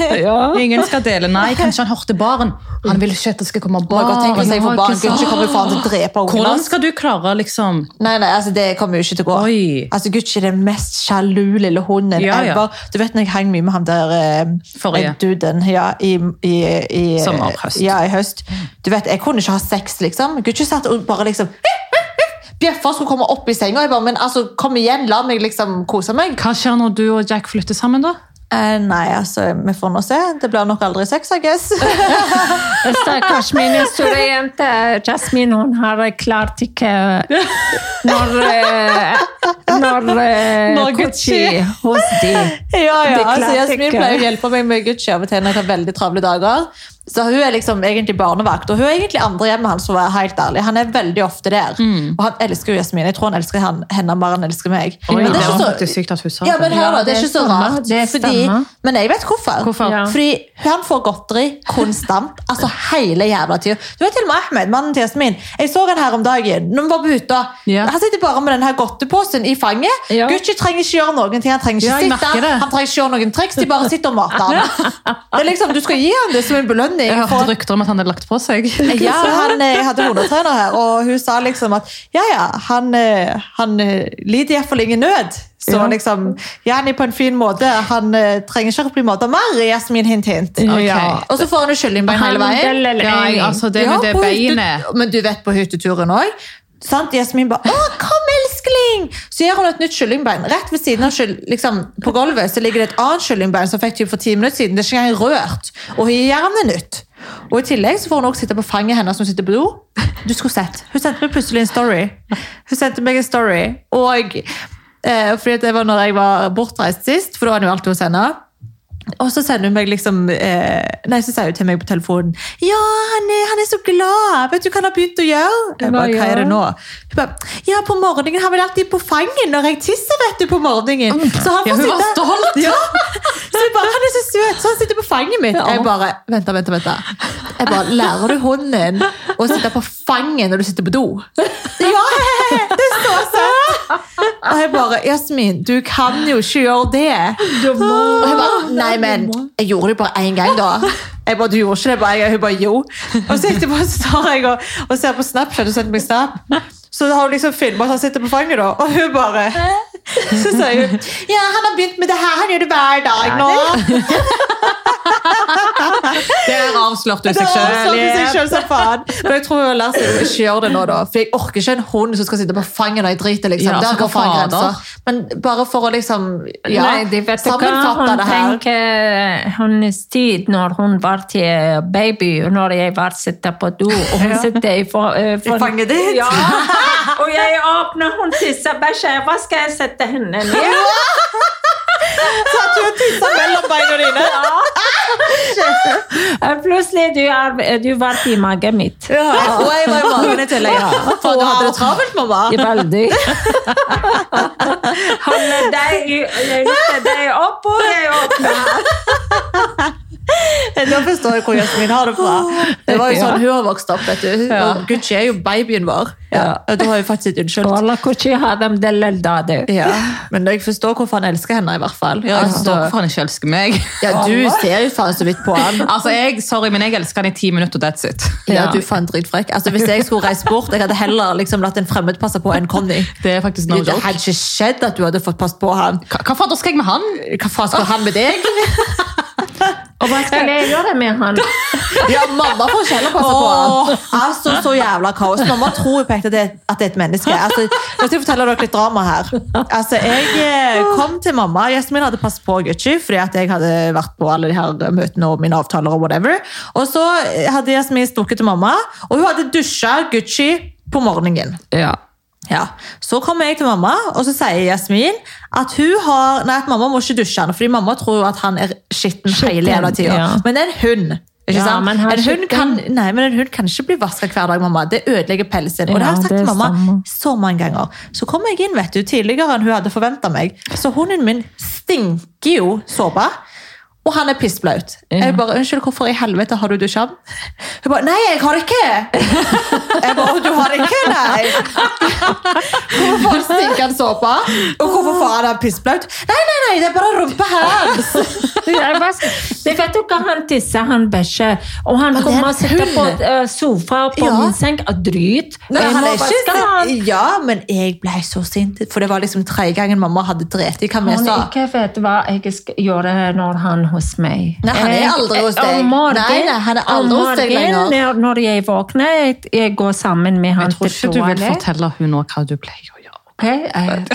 C: vet du. Ingen skal dele. Nei, kanskje han hørte barn. Han vil ikke at det skal komme barn.
A: Bare tenk å si for barn.
C: Ikke
A: Gud,
C: sant?
A: ikke kommer faen til å drepe ungen
C: Hvordan
A: hans.
C: skal du klare, liksom
A: Nei, nei, altså det kommer jo ikke til å gå.
C: Oi.
A: Altså Gucci er den mest sjalu lille hunden
C: Ja, ja.
A: ever. Du vet når jeg hang mye med han der eh,
C: Forrige.
A: eh, duden ja, i, i, i
C: Sommer, høst.
A: Ja, i høst. Du vet, jeg kunne ikke ha sex, liksom. Gucci satt og bare liksom Bjeffa skulle komme opp i senga. Jeg bare, men altså, kom igjen, la meg liksom kose meg.
C: Hva skjer når du og Jack flytter sammen, da?
A: Eh, nei, altså, vi får nå se. Det blir nok aldri sex, I guess.
B: Stakkars min store jente Jasmin, hun har eh, klart ikke eh, Når eh, Når, eh,
A: Når
B: Gucci hos de.
A: Ja, ja.
B: Det klarte
A: Altså, Jasmin
B: ikke.
A: pleier å hjelpe meg med Gucci av og til når jeg har veldig travle dager. Så hun er liksom egentlig barnevakt, og hun er egentlig andre hjemme hans. for å være helt ærlig. Han er veldig ofte der. Og han elsker jo Jasmin. Jeg tror han elsker han, henne mer enn han elsker meg.
C: Oi,
A: men det
C: var
A: er ikke så...
C: faktisk sykt at hun sa
A: Ja, men hør da, det
B: det
A: er ikke så
C: sånn
B: stemmer.
A: rart.
B: Det
A: Fordi,
B: stemmer.
A: men jeg vet hvorfor.
C: Hvorfor?
B: Ja.
A: Fordi han får godteri konstant. Altså hele jævla tida. Du vet til og med Ahmed, mannen til Jasmin. Jeg så han her om dagen. Når vi var på hytta.
C: Ja.
A: Han sitter bare med denne godteposen i fanget.
B: Ja.
A: Gucci trenger ikke gjøre noen ting. Han trenger ikke
C: Ja, jeg
A: sitte,
C: merker det.
A: han trenger ikke gjøre noen triks, de bare sitter og mater han. Det er liksom, du skal gi han det som en belønning.
C: Jeg
A: for
C: hørte
A: at-
C: rykter om at han hadde lagt på seg.
A: ja, han, eh, jeg hadde hundetrener her, og hun sa liksom at ja, ja, han, eh, han eh, lider iallfall ingen nød. Så
B: Ja.
A: liksom, Jani på en fin måte, han eh, trenger ikke å bli mata mer, Jasmin, hint, hint.
C: Ok.
A: Ja. Og så får han jo kyllingbein hele veien.
B: Handel eller
C: Ja, jeg,
B: ei.
C: altså, det
A: Ja,
C: med det
A: på hytte-
C: beinet
A: Men du vet på hytteturen òg. Jasmin bare 'Å, kom, elskling!' Så gjør hun et nytt kyllingbein. Rett ved siden av kyll- liksom, På gulvet så ligger det et annet kyllingbein som fikk typ for ti minutter siden. Det er ikke engang rørt. Og hun gir jernet nytt. Og i tillegg så får hun også sitte på fanget hennes som sitter på do. Du skulle sett. Hun sendte meg plutselig en story. Hun sendte meg en story. Og eh, fordi at det var når jeg var bortreist sist, for da var det jo alltid hos henne. Og så sender hun meg liksom eh, Nei, så sier hun til meg på telefonen Ja, han er, han er så glad! Vet du hva han har begynt å gjøre? Jeg
B: Hva
A: bare, hva
B: gjør
A: er det
B: han?
A: nå? Hun bare, ja, på morgenen. Han vil alltid på fanget når jeg tisser, vet du, på morgenen. Så han
C: Ja, hun
A: får
C: var
A: sitte
C: stolt!
A: ja. Så jeg bare, han er så søt, så han sitter på fanget mitt. Jeg bare, vent da, vent da, vent da. Jeg bare, Lærer du hunden å sitte på fanget når du sitter på do? Ja! Det er så søtt! Og jeg bare Jasmin, du kan jo ikke gjøre det. Og hun bare Nei, men jeg gjorde det bare én gang, da. Jeg bare, du gjorde ikke det bare en gang? Hun bare jo. Og så etterpå så tar jeg og, og ser på Snapchat og sender meg snap. Så har hun liksom filma at han sitter på fanget, da. Og hun bare Så sier hun Ja, han har begynt med det her. Han gjør det hver dag nå.
D: Der avslørte hun
A: Det
D: seg
A: var sånn til seg
D: sjøl.
A: selv som faen. Men jeg tror hun har lært seg å ikke gjøre det nå, da. For jeg orker ikke en hund som skal sitte på fanget når jeg driter, liksom.
C: Ja,
A: Der
C: så
A: går faen
C: fader.
A: grensa. Men bare for å liksom ja,
B: Nei, de vet ikke hva
A: sammenfatte
B: hun
A: det her.
B: tenker eh, hennes tid når hun var til baby, og når jeg var sitter på do, og hun sitter i, for, eh, for-
A: fanget ditt?
B: Ja, og jeg åpner, hun tisser, bæsjer, hva skal jeg sette henne ned?
A: Satt hun og tissa mellom beina dine?
B: Eh, Plutselig du, er, eh, du var i magen mitt.
A: Ja. Og jeg var i magen i tillegg. For du hadde det travelt, mamma.
B: Veldig. Holder deg, jeg løfter deg opp, og jeg åpner.
A: Nå forstår jeg hvor Jasmin har det fra. Det var jo sånn hun har vokst opp, vet du.
C: Ja.
A: Og Gucci er jo babyen vår. Ja. Og da har jeg faktisk ikke unnskyldt.
B: Wallah, hvordan har de det lilla, du?
A: Ja. Men jeg forstår hvorfor han elsker henne, i hvert fall.
C: Ja, jeg
A: Altså,
C: forstår hvorfor han ikke elsker meg.
A: ja, du ser jo faen så vidt på han.
C: Altså, jeg, Sorry, men jeg elsker han i ti minutter, og that's it.
A: Ja,
B: Ja.
A: du faen dritfrekk. Altså, hvis jeg skulle reist bort, jeg hadde heller liksom latt en fremmed passe på enn Conny.
C: Det er faktisk no
A: Det
C: joke.
A: hadde ikke skjedd at du hadde fått passe på han.
C: Hva, hva fader skal jeg med han?
A: Hva faen skal han med deg?
B: Og hva skal jeg gjøre med han?
A: Ja, mamma får ikke heller passe på han. Altså, så jævla kaos. Mamma tror jo på ekte at det- at det er et menneske. Altså, nå skal jeg fortelle dere litt drama her. Altså, jeg eh, kom til mamma. Jasmin hadde passet på Gucci, fordi at jeg hadde vært på alle de her møtene og mine avtaler og whatever. Og så eh, hadde Jasmin stukket til mamma, og hun hadde dusjet Gucci på morgenen.
C: Ja.
A: Ja. Så kommer jeg til mamma, og så sier Jasmin at, hun har, nei, at mamma må ikke dusje han, fordi mamma tror jo at han er skitten hele jævla tida.
B: ja.
A: Men det er en hund. Ikke
B: Ja,
A: sant?
B: men han er
A: en hund
B: skitten.
A: kan, nei, men en hund kan ikke bli vaska hver dag, mamma. Det ødelegger pelsen. Og det har
B: Ja,
A: jeg sagt
B: det
A: til mamma
B: stemmer.
A: så mange ganger. Så kom jeg inn vet du, tidligere enn hun hadde forventa meg. Så hunden min stinker jo såpe. Og han er pissblaut. Jeg bare 'Unnskyld, hvorfor i helvete har du dusja han?' Hun bare 'Nei, jeg har det ikke'. Jeg bare 'Å, du har det ikke', nei'. Hvorfor stinker han såpe? Og hvorfor faen er han pissblaut? Nei, nei, nei, det er bare rumpa hans!
B: Jeg bare, det vet du hva han tisser, han bæsjer. Og han
A: det er
B: kommer og
A: en
B: sitter på
A: hund.
B: eh, sofa på
A: Ja.
B: min seng og dryt.
A: Nei,
B: Jeg
A: han
B: må
A: er ikke
B: vaske han.
A: Ja, men jeg ble så sint, for det var liksom tredje gangen mamma hadde drept i hva vi
B: Han
A: sa.
B: ikke vet hva jeg skal gjøre når han er hos meg.
A: Nei, han er
B: Jeg-
A: aldri hos deg.
B: Om morgenen,
A: Nei, nei, han er aldri
B: om
A: hos deg
B: morgenen,
A: lenger.
B: når- Når jeg våkner, jeg, jeg går sammen med han
C: Jeg tror
B: til
C: ikke du vil
B: toalettet.
C: fortelle hun også hva du pleier å gjøre.
B: Ok, jeg,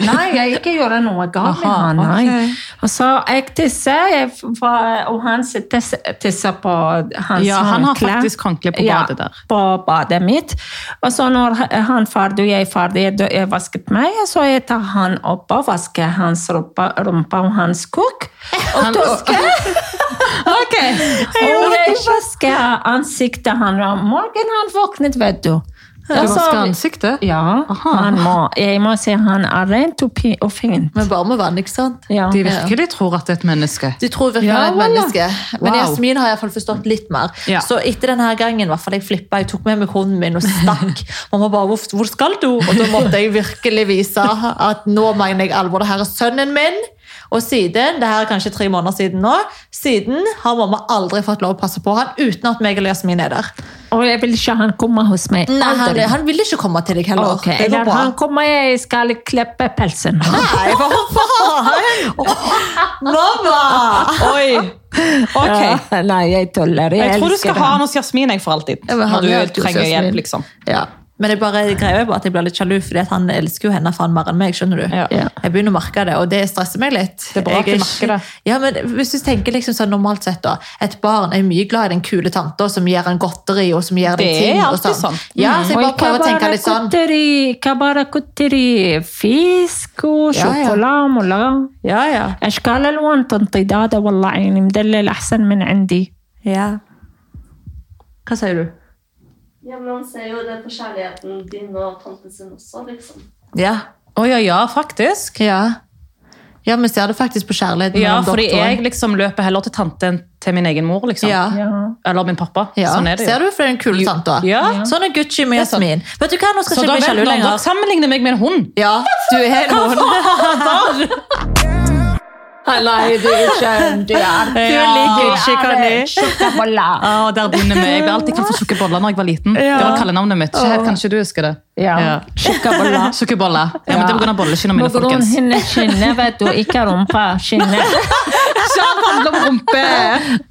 B: nei, jeg ikke gjøre noe galt med
C: Aha,
B: han. Nei.
C: ok.
B: Og så jeg tisser, jeg, var- og han sitter- tisser på hans
C: Ja, han har
B: håndkle.
C: faktisk håndkle på badet der.
B: på badet mitt. Og så når han ferdig, og jeg er ferdig, da jeg vasket meg, så jeg tar han opp og vasker hans rumpa, rumpa og hans kuk. Og toske. Og jeg vasker ansiktet han om morgenen han våknet, vet du.
C: Du
B: Og så-
C: vasker ansiktet?
B: ja,
C: Aha.
B: han må. Jeg må si han er rent og, pi- og fint.
A: Men bare med vann, ikke sant?
B: Ja.
C: De virkelig tror at det er et menneske.
A: De tror virkelig han er et
C: Ja, voilà.
A: menneske. Men
C: Wow.
A: Jasmin har i hvert fall forstått litt mer.
C: Ja.
A: Så etter denne her gangen, i hvert fall, jeg flippa, jeg tok med meg hunden min og stakk. Mamma bare, hvor, hvor skal du? Og da måtte jeg virkelig vise at nå mener jeg alvor. Det her er sønnen min. Og siden, det her er kanskje tre måneder siden nå, siden har mamma aldri fått lov å passe på han uten at meg eller Jasmin er der.
B: Og jeg vil ikke han komme hos meg.
A: Nei, han,
B: Aldri.
A: han vil ikke komme til deg heller.
B: Ok,
A: det
B: når
A: går bra.
B: han kommer, jeg skal klippe pelsen.
A: Nei, hva faen? Mamma!
C: Oi! Ok.
B: Ja, nei, jeg tuller. Jeg,
C: Jeg tror du
B: elsker
C: skal ha han hos Jasmin jeg, for alltid.
A: Ja, men han
C: Når
A: er
C: du
A: alltid hos
C: trenger
A: Jasmin.
C: hjelp, liksom.
A: Ja. Men jeg bare greier jo bare at jeg blir litt sjalu, fordi at han elsker jo henne faen mer enn meg. skjønner du?
C: Ja.
B: Ja.
A: Jeg begynner å merke det, og det stresser meg litt.
C: Det er bra at
A: Jeg
C: du
A: ikke-
C: merker det.
A: Ja, men hvis du tenker liksom sånn normalt sett da, Et barn er mye glad i den kule tanta som gir en godteri og som gir den
C: Det er
A: ting. og
C: alltid
A: sånn.
C: sånn.
A: Ja, så jeg bare
B: Oi,
A: prøver å tenke litt sånn.
B: kabarakuteri, kabarakuteri, fisk og
A: Ja, ja.
B: شوكولا ولا
A: Ja, ja.
B: اشكال الوان تنطيداده والله عيني مدلل احسن من عندي
A: ja. Hva sier du?
E: Ja, men han ser jo det på kjærligheten din og tanten sin også, liksom.
A: Ja.
C: Å ja, ja, faktisk.
A: Ja. Ja, vi ser det faktisk på kjærligheten
C: Ja,
A: mellom
C: fordi
A: doktoren.
C: jeg liksom løper heller til tante enn til min egen mor, liksom.
A: Ja.
B: Ja.
C: Eller min pappa.
A: Ja.
C: Sånn er det
A: Ser
C: jo.
A: du for den kule tanta?
C: Ja.
A: Sånn er Gucci med
C: Det er sant.
A: Jasmin. Vet du hva, nå skal
C: Så
A: jeg
C: da
A: ikke bli
C: vent,
A: sjalu
C: nå, dere
A: lenger.
C: sammenligner meg med en hund.
A: Ja, du er noen. Nei, du er skjønt. Du er
C: Ja, og der begynner vi. Jeg ble alltid kalt for sukkerboller når jeg var liten. Det var kallenavnet mitt. Ikke helt, kanskje du husker det?
B: Ja.
C: Sukkerboller. Ja, men det er på grunn av bolleskinnene mine,
B: På grunn
C: folkens.
B: hennes skinne, vet du, ikke rumpa. Skinne.
C: Ja, det handler om rumpe!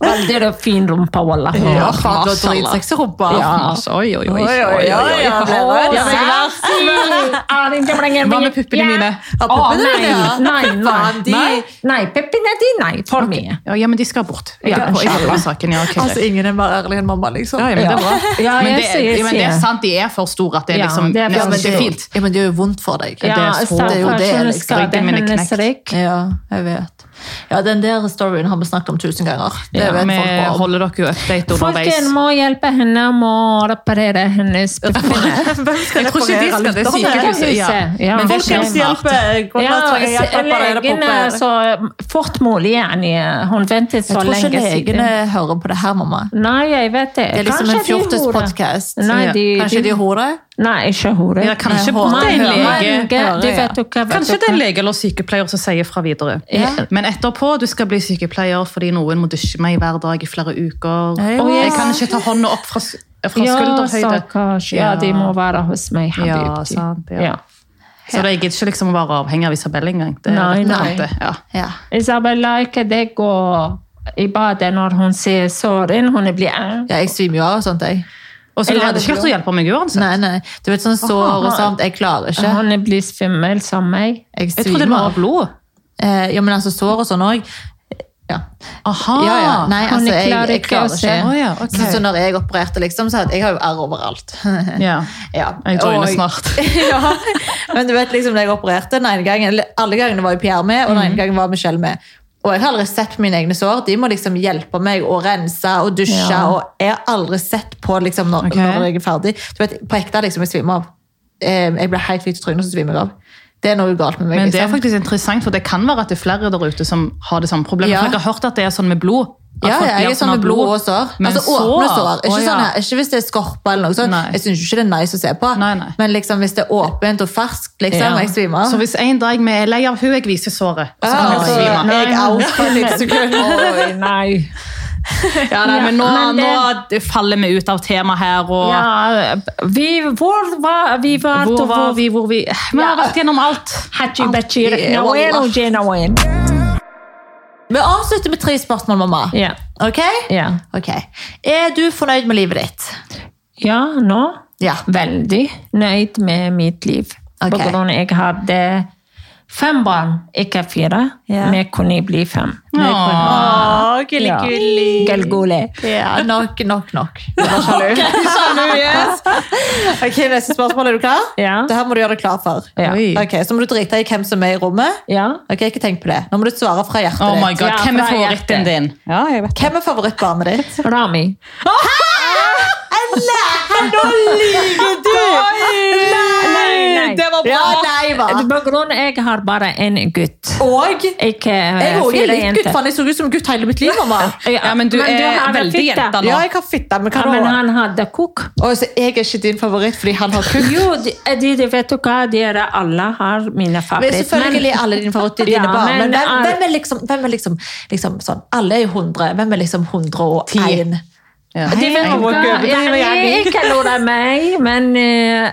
B: Veldig fin rumpa, walla.
A: Ja, faen, du har
C: mashallah.
A: dritsexy rumpa.
C: altså. Ja, altså, oi, oi, oi.
A: Oi, oi, oi, ja, ble det.
B: Å,
A: Ja, men-
B: sexy!
C: Hva med puppene mine?
A: Ja,
B: Å,
A: puppene
B: nei,
A: dine.
B: nei,
A: Faen, de-
B: nei. Nei, nei puppene dine, nei. For mye.
C: Ja, ja, men de skal bort. Jeg
B: Ja,
C: er på jeg er på saken, ja, ok.
A: Altså, ingen er mer ærlig enn mamma, liksom.
C: Ja, ja, men det er bra.
B: Ja,
C: men,
B: jeg
C: det,
B: sier-
C: ja, men det er
B: sier.
C: sant, de er for store at det er
B: Ja,
C: liksom
B: det er
C: nesten
A: men
C: ikke
A: det er
C: fint.
A: Ja, men det er jo vondt for deg.
B: Ja,
C: det er så-
A: det er jo det,
B: stakkars, hun
A: liksom.
B: skader
C: Ryggen min er
B: hennes
C: knekt.
B: rygg.
A: Ja, jeg vet. Ja, den der storyen har vi snakket om tusen ganger. Det
C: Ja,
A: vet
C: vi
A: folk bare om.
C: holder dere jo update
B: Folken
C: underveis.
B: må hjelpe henne med å reparere hennes pupper.
A: Hvem skal
C: Jeg tror ikke de skal det sykehuset. Ja.
B: Sykehuset, ja.
C: Men det
B: Folkens
C: skjer snart.
B: Ja, legene så fort mulig. yani. Hun ventet
A: Jeg
B: så
A: tror ikke
B: lenge
A: legene
B: siden.
A: hører på det her, mamma.
B: Nei, jeg vet det.
A: Det er liksom
B: Kanskje
A: en
B: de horer.
A: fjortispodcast.
B: Nei, de,
A: Kanskje de er hore?
B: Nei, ikke hore.
C: Ja, kanskje
A: Nei,
C: det er en
B: Mange,
A: håret.
C: lege.
A: Hører,
B: du
A: ja.
B: vet jo hva- vet
C: Kanskje
B: du
C: det er
B: hva.
C: en lege eller sykepleier som sier fra videre.
B: Ja.
C: Men etterpå du skal bli sykepleier fordi noen må dusje meg hver dag i flere uker.
A: Ja, ja.
C: Og jeg kan ikke ta hånda opp fra, s- fra
B: Ja,
C: skulderhøyde.
B: stakkars. Ja, de må være hos meg,
C: Ja,
B: Habibti.
C: sant, ja.
B: Ja.
C: Så det, jeg gidder ikke liksom å være avhengig av Isabel engang. Det er
B: Nei,
C: rett og
B: nei.
C: slett det, Ja.
A: Ja.
B: Isabel liker deg å i badet når hun ser såren. Hun blir æ.
A: ja, jeg svimer jo av og sånt, jeg.
C: Og så
A: Eller
C: hadde ikke klart å hjelpe meg uansett.
A: Nei, nei. Du vet, sånn sår og sånt. Jeg klarer ikke.
B: Hun blir svimmel som meg.
A: Jeg
C: Jeg trodde det
A: svimer
C: var
A: av.
C: blod.
A: Eh, Ja, men altså, sår og sånn òg. Ja.
C: Aha!
A: Ja, ja. Nei,
B: Hun
A: altså, jeg,
B: klarer
A: jeg
B: ikke å
A: klarer
B: se.
A: ikke.
C: Å, ja, ok.
A: Så, så når jeg opererte, liksom, så hadde jeg har jo R overalt.
C: Ja.
A: Ja.
C: Jeg joiner
A: Og-
C: snart.
A: ja. Men du vet liksom, da jeg opererte, den ene gangen, eller alle gangene var jo Pierre med, og den
C: Mhm.
A: ene gangen var Michelle med. Og jeg har aldri sett på mine egne sår. De må liksom hjelpe meg å rense og dusje.
C: Ja.
A: Og jeg har aldri sett på liksom, når,
C: Ok.
A: når jeg er ferdig. Du vet, på ekte liksom, jeg svimer av. Eh, Jeg blir helt hvit i trynet, og så svimer jeg av. Det er noe galt med meg.
C: Men det er
A: liksom.
C: faktisk interessant, for det kan være at det er flere der ute som har det samme problemet.
A: Ja.
C: For jeg har hørt at det er sånn med blod. At
A: Ja,
C: folk
A: ja, jeg
C: blir
A: er sånn med blod og sår.
C: Men
A: altså åpne sår. Ikke,
C: Å, ja.
A: sånn her, ikke hvis det er skorpe eller noe sånt.
C: Nei.
A: Jeg syns ikke det er nice å se på.
C: Nei, nei.
A: Men liksom, hvis det er åpent og ferskt, liksom,
C: Ja.
A: og jeg svimer
C: Så hvis en dag vi er lei av hun jeg viser såret, så kan
A: Ja,
C: jeg
A: altså,
C: svime.
A: Nei, jeg er out for seks sekunder.
B: Oi, nei.
C: Ja, nei, men nå,
B: Men
C: nå faller vi ut av temaet her, og
B: Ja, vi, hvor var vi? Var,
C: hvor var
B: vi?
C: vi, hvor vi Vi har vært gjennom alt.
B: Hachi Bachi,
A: Alltid,
B: Nawen og
A: wallah.
B: Jenawen.
A: Vi avslutter med tre spørsmål, mamma.
B: Ja.
A: Ok?
B: Ja.
A: Ok. Er du fornøyd med livet ditt?
B: ja, nå
A: Ja.
B: veldig nøyd med mitt liv. På
A: Ok.
B: grunn av jeg hadde fem barn, ikke fire.
A: Ja.
B: Vi kunne bli fem.
C: Åh.
A: Åh,
C: Ah,
B: Ja. Gelgole.
A: Ja, nok, nok, nok. Jeg var sjalu. ok, neste spørsmål. Er du klar?
B: Ja.
A: Det her må du gjøre deg klar for.
B: Ja.
C: Oi.
A: Ok, Så må du drite i hvem som er i rommet.
B: Ja.
A: Ok, ikke tenk på det. Nå må du svare fra hjertet
C: Oh my
A: ditt.
C: god,
B: Ja,
C: Hvem er
B: fra hjertet.
C: favoritten din? Ja, jeg vet.
A: Hvem er favorittbarnet ditt?
B: Rami.
A: Nå lyver du!
B: Nei, nei.
A: Det var bra! Ja, nei, hva?
B: På grunn av jeg har bare en gutt.
A: Og
B: Ikke eh,
A: Jeg òg er
B: fire
A: litt gutt.
B: jenter.
A: Faen, jeg så ut som gutt hele mitt liv, mamma.
C: Ja, men du er
B: har
C: veldig
B: fitte.
C: jenta nå.
A: Ja, jeg har fitte, men hva
B: Ja, men
A: da?
B: han hadde kok.
A: Å, så jeg er ikke din favoritt fordi han har kukk?
B: Jo, de, eh, de, de vet du hva, dere alle har mine
A: Men
B: favoritter.
A: Selvfølgelig er alle dine favoritter
B: Ja,
A: dine barn, men
B: men
A: hvem,
B: alle-
A: hvem er liksom, hvem er liksom, liksom sånn, Alle er jo 100. Hvem er liksom 101?
C: Ja.
B: Men de vet
C: Hei,
B: du hva,
A: Gud,
B: jeg,
A: driver jeg med?
B: ikke lurer meg, men eh,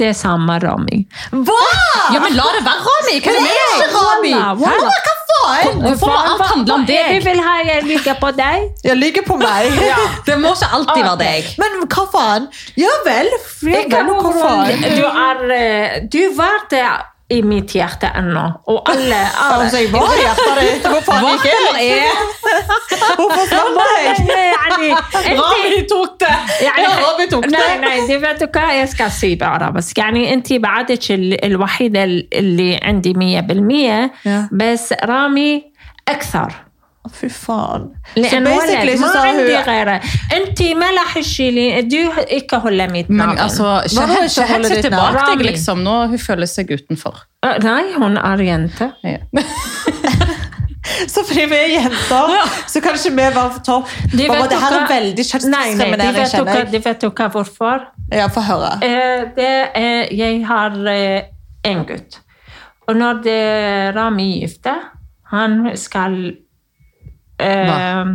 B: det er samme Rami.
A: Hva?!
C: Ja, men la det være, Rami! Hva er det
A: Det er ikke Rami!
B: Walla, walla.
A: Hva faen?!
C: Hvorfor må alt handle om
B: Vi
C: deg?
B: vil ha jeg ligger på deg.
A: Jeg ligger på meg.
C: Det må ikke alltid være deg.
A: Men hva faen? Ja vel. Ja
B: Ikke
A: vel, hva faen?
B: Du er eh, Du var der i mitt hjerte ennå, og alle, er- alle
A: Altså, jeg var i hjertet ditt. Hvor faen gikk jeg? Hvorfor slapp jeg?
B: يعني انت
A: tok det!
B: يعني
A: Ja, Rami tok det.
B: نعم نعم دي بدك اسكا سي بعربس يعني انت بعدك ال- الوحيده اللي عندي 100%
A: Yeah.
B: بس رامي اكثر
A: Fy faen. Så
B: لانه
A: basically
B: ولد
A: så
B: ما
A: sa
B: عندي
A: hun
B: غيره انت ما راح تشيلي دي هيك هلا ميت
C: Men altså,
A: Hva
C: ikke
A: var det
C: hent
A: som holder
C: seg
A: ditt
C: tilbake
B: navn? Ah,
C: deg, liksom. Nå, hun føler seg utenfor.
B: ناي هون ارينتا
C: Ja.
A: Så fordi vi er jenter, så kan ikke vi være på topp.
B: De
A: Mamma,
B: vet
A: det her
B: jo
A: er
B: hva-
A: veldig
B: Nei, nei, de
A: kjønnsdiskriminering,
B: vet jo
A: kjenner
B: hva-
A: jeg.
B: De vet jo hva hvorfor.
A: Ja, få høre.
B: Eh, det er, jeg har eh, en gutt. Og når det Rami er gifte, han skal eh,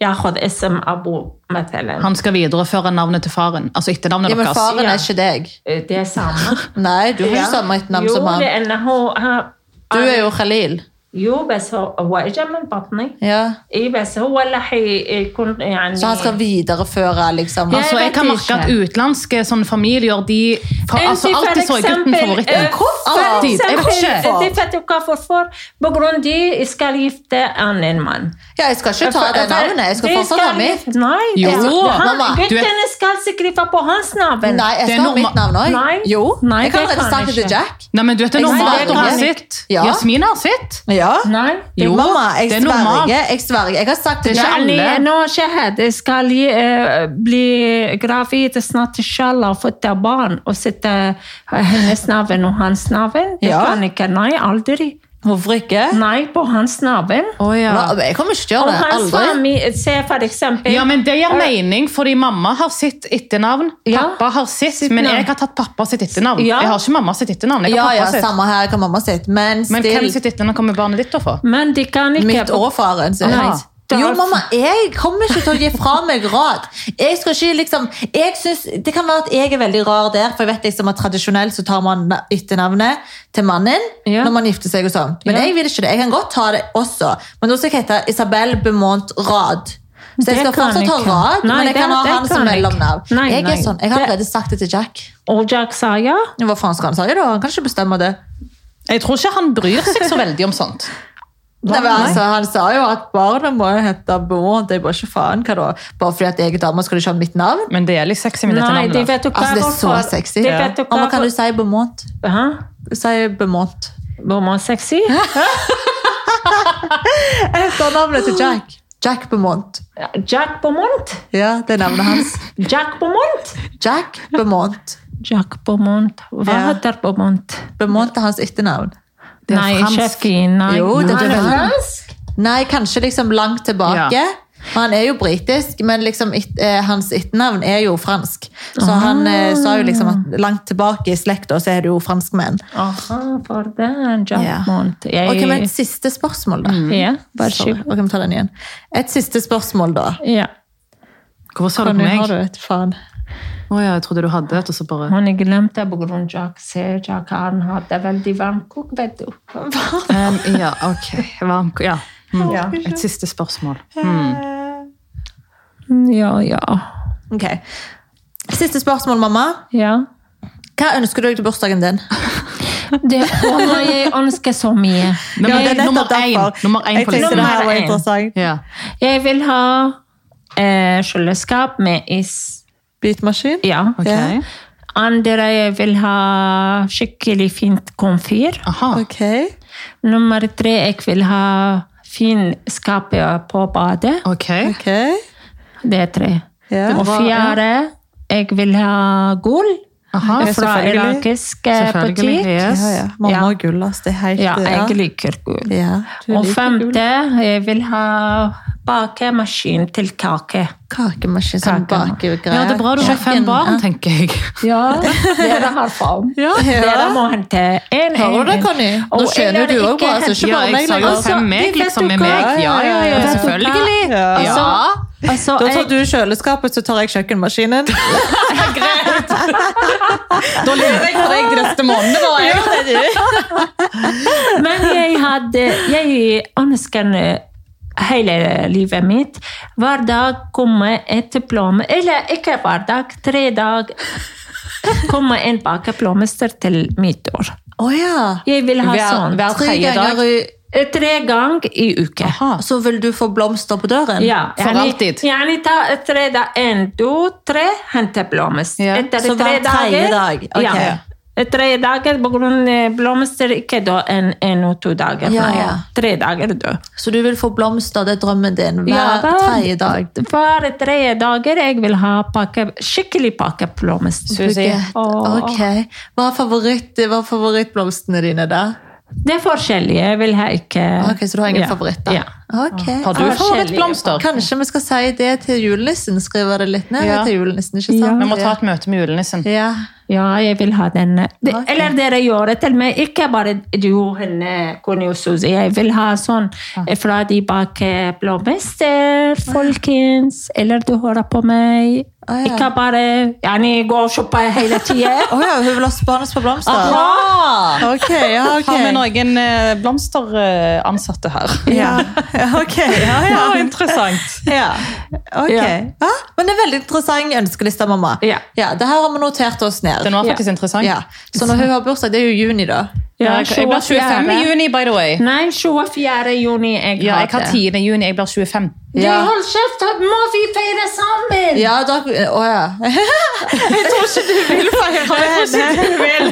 B: Jeg har fått SM Abo med Telen.
C: Han skal videreføre navnet til faren. Altså etternavnet
A: Ja, men
C: deres.
A: faren
B: ja.
A: er ikke deg.
B: Eh, Det er samme.
A: Nei, du har ikke samme etternavn som
B: Jo,
A: han.
B: لأن هو- ها-
A: Du er jo Khalil.
B: Jo, بس هو هو إجا من بطني.
A: Ja.
B: إيه بس هو اللي حيكون يعني
A: Så han skal videreføre, liksom.
B: Ja.
C: Altså, jeg kan
B: vet
C: merke at
B: ikke.
C: utenlandske sånne familier de for,
B: Enn
C: altså,
B: til for
C: Alltid så er gutten
B: eksempel,
C: favoritten.
B: eh, for
C: Alltid! Jeg vet
B: eksempel,
C: ikke.
B: De vet jo hva hvorfor. På grunn av de skal gifte annen mann.
A: Ja, jeg skal ikke ta det navnet. Jeg skal
B: De
A: fortsatt ha mitt.
B: gifte- Nei,
C: Jo,
B: det- han,
A: mamma,
C: du er-
B: guttene skal skrive på hans navn.
A: Nei, jeg
C: Det er
A: skal ha mitt
C: norma-
A: navn òg.
B: Nei.
A: Jo.
B: Nei,
A: Jeg kan
B: det
A: allerede
B: kan
A: snakke
B: jeg
A: til
B: ikke.
A: Jack.
C: Nei, men du vet det er
A: Nei,
C: normalt
A: det
C: å
A: kan
C: ha
A: jeg ikke.
C: sitt.
A: Ja.
C: Jasmin har sitt.
A: Ja.
B: Nei.
A: Jo,
C: Jo,
A: Mamma, jeg
C: det er
A: sverger.
C: normalt.
A: Jeg sverger. Jeg har sagt til
C: Det er
A: Jack.
C: ikke alle.
B: يعني أنا شاهد skal eh, bli gravid snart inshallah og fødte barn og sette hennes navn og hans navn. Det
A: Ja.
B: kan ikke. Nei, aldri.
A: Hvorfor ikke?
B: Nei på hans navn.
A: Hva? Jeg kommer ikke til å
B: Og
A: gjøre det.
B: hans
A: Aldri.
B: familie, se for eksempel
C: Ja, men Det gir mening, fordi mamma har sitt etternavn.
B: Ja.
C: Pappa har sitt, men
B: navn.
C: jeg har tatt pappa sitt etternavn.
B: Ja.
C: Jeg har ikke mamma sitt etternavn. jeg
A: Ja,
C: har
A: ja,
C: pappa sitt.
A: samme her hva mamma sitt, men
C: Men hvem
A: still
C: sitt etternavn kommer barnet ditt til å få?
B: Men de kan ikke
A: mitt og faren sin.
B: Nei.
A: Jo, mamma, jeg kommer ikke til å gi fra meg råd. Jeg skal ikke liksom jeg synes, Det kan være at jeg er veldig rar der, for jeg vet liksom at tradisjonelt så tar man na- etternavnet til mannen
B: Ja.
A: når man gifter seg og sånn. Men
B: Ja.
A: jeg vil ikke det. Jeg kan godt ta det også, men da skal jeg hete Isabel Bemont Rad. Så jeg
B: Det
A: skal
B: kan
A: fortsatt
B: jeg
A: ha
B: ikke.
A: Rad,
B: Nei,
A: men jeg
B: det-
A: kan ha
B: det
A: han
B: kan
A: som
B: jeg ikke.
A: mellomnavn.
B: Nei,
A: Jeg
B: nei.
A: er sånn, jeg har
B: Det-
A: allerede sagt det til Jack.
B: Og Jack sa ja.
A: Hva faen skal han si da? Han kan ikke bestemme det.
C: Jeg tror ikke han bryr seg så veldig om sånt.
A: Nei, men altså, han sa jo at barna må jo hete Bond. Jeg bare ikke faen hva da? Bare fordi at jeg er dame, skal du ikke ha mitt navn?
C: Men det er litt sexy med dette
B: Nei, de
C: navnet. da.
B: vet jo hva
A: Altså, det er så
B: hvorfor.
A: sexy.
B: De vet jo hva
A: Mamma, kan du
B: hvor-
A: si Beaumont?
B: Hæ?
A: Si Beaumont.
B: Var man sexy?
A: Etter navnet til Jack. Jack Beaumont.
B: Jack Beaumont?
A: Ja, det er navnet hans.
B: Jack Beaumont?
A: Jack Beaumont.
B: Jack Beaumont. Hva
A: Ja.
B: heter Beaumont?
A: Beaumont er hans etternavn.
C: Det er
B: Nei, ikke
C: fransk.
B: fin. Nei.
A: Jo, det er
B: Han er
A: veldig-
B: fransk.
A: Nei, kanskje liksom langt tilbake.
C: Ja.
A: Han er jo britisk, men liksom et, eh, hans etternavn er jo fransk. Så han eh, sa jo liksom at langt tilbake i slekta så er det jo franskmenn.
B: Aha, for den Jack
A: Ja.
B: Beaumont. Jeg...
A: Ok, men et siste spørsmål, da.
C: Mm.
B: Ja, vær så
A: Sorry.
B: god.
A: Ok, vi tar den igjen. Et siste spørsmål, da.
B: Ja,
C: Hvorfor sa du
A: Kan
C: på
A: du ha
C: meg?
A: det? vet du, Faen.
C: Å ja, jeg trodde du hadde et, og så bare
B: han jeg glemte på grunn av Jack. Se, Jack han hadde veldig varm kok, vet du.
A: Mm.
C: um, Ja, ok. Varm- Ja. Mm.
B: Ja.
C: Et siste spørsmål.
A: Hmm.
C: Mm.
B: Ja, ja.
A: Ok. Siste spørsmål, mamma.
B: Ja.
A: Hva ønsker du deg til bursdagen din?
B: Det kommer jeg ønske så mye.
C: Nummer,
A: Ja, det er nettopp
C: nummer én
A: derfor.
C: nummer én
A: Jeg
C: på
A: tenkte
C: listen.
A: det her var
B: Nummer én.
A: interessant.
C: Ja.
B: Jeg vil ha eh, kjøleskap med is.
A: Bitmaskin?
B: Ja.
C: Ok.
A: Ja.
B: Andre jeg vil ha skikkelig fint komfyr.
C: Aha.
A: Ok.
B: Nummer tre jeg vil ha fin skap på badet.
C: Ok.
A: ok.
B: Det er tre.
A: Ja.
B: Og
C: Hva-
B: fjerde jeg vil ha gull
C: Aha.
A: Ja,
B: fra
A: selvfølgelig.
B: irakisk eh,
C: Selvfølgelig.
B: butikk.
C: Yes.
A: Ja, ja. Mamma
B: Ja.
A: og gull, ass. Det er helt
B: Ja, jeg liker gull.
A: Ja, du
B: Og
A: liker gull.
B: femte jeg vil ha bakemaskin til kake.
A: Kakemaskin som
B: Kake.
A: baker greier.
C: Ja, det er bra du har fem
A: Kjøkken,
C: barn,
A: ja.
C: tenker jeg.
B: Ja, dere har faen.
A: Ja.
B: Dere må hente en
A: Hører du det,
B: en.
A: Conny? Nå
B: Og
A: skjønner
B: eller
A: du
B: ikke
A: også bra, altså.
B: hente-
A: Ikke
C: Ja,
A: bare
C: jeg
A: meg
C: sa jo
A: lenger.
B: Altså,
C: fem
B: de
C: meg,
B: vet
C: liksom,
B: jo
C: med
B: hva.
C: meg. Ja, ja, ja,
B: Vet du hva?
C: selvfølgelig.
A: Ja.
C: Ja.
B: Altså,
A: Da tar
B: jeg-
A: du kjøleskapet, så tar jeg kjøkkenmaskinen.
C: Da lever jeg for deg til neste måned, da. Jeg.
B: men jeg hadde Jeg ønsker hele livet mitt hver dag komme et plomme Eller ikke hver dag, tre dag komme en bakeblomster til mitt år.
A: Å ja.
B: Jeg vil ha
C: Hver-
B: sånn.
C: hver
A: Tre
C: tredje dag.
A: ganger i
B: Eh, Tre ganger i uke.
A: Ah, Så vil du få blomster på døren?
B: Ja,
C: For alltid.
B: Yani ta tre da, en, to, tre, hente blomster.
C: Ja.
B: Etter
A: Så
B: tre
A: hver tredje
B: dager,
A: dag, ok.
B: Ja. Eh, Tre dager på grunn av blomster, ikke da en, en og to dager.
A: Ja,
B: nei.
A: ja.
B: Tre dager da.
A: Så du vil få blomster, det er drømmen din, hver
B: Ja, hver-
A: tredje dag?
B: Hver tredje dager jeg vil ha pakke, skikkelig pakke blomster.
C: Susi.
A: Bukett.
B: Åh.
A: Ok. Hva er, favoritt, hva er favorittblomstene dine, da?
B: Det er forskjellige. Jeg vil ha ikke
A: Ok, Så du har ingen
B: Ja.
A: favoritter?
B: Ja.
A: Ok.
C: Har du
B: Ah,
C: favorittblomster?
A: Kanskje vi skal si det til julenissen? Skrive det litt ned
C: Ja.
A: til julenissen, ikke
B: Ja.
A: sant?
C: Vi må ta et møte med julenissen.
A: Ja.
B: Ja, jeg vil ha den. Det,
A: Ok.
B: Eller dere gjør det til meg. Ikke bare du, henne, Conny og Susi. Jeg vil ha sånn eh, fra de bak eh, blåmester, folkens. Eller du hører på meg.
A: Ah, ja.
B: Ikke bare gjerne gå og shoppe hele tida.
A: Å ja, hun vil ha spansk på blomster?
B: Aha!
A: Ok, ja, ok.
C: Har vi noen eh, blomsteransatte her?
A: Ja, ja, ok. Ja, ja.
C: Ja, interessant.
A: Ja. Ok.
B: Ja.
A: Ja, men det er veldig interessant ønskeliste, mamma.
B: Ja.
A: Det her har vi notert oss ned.
C: Den var faktisk interessant.
A: Ja. Så når hun har bursdag, det er jo juni, da.
C: Ja, jeg, jeg blir 25 i juni, by the way.
B: Nei, 24. juni. Jeg
C: Ja, jeg har
B: det.
C: 10. juni, jeg blir 25.
B: Du,
A: Ja.
B: hold kjeft! da Må vi feire sammen?
A: Ja, da, å ja. Jeg tror ikke du vil feire med henne.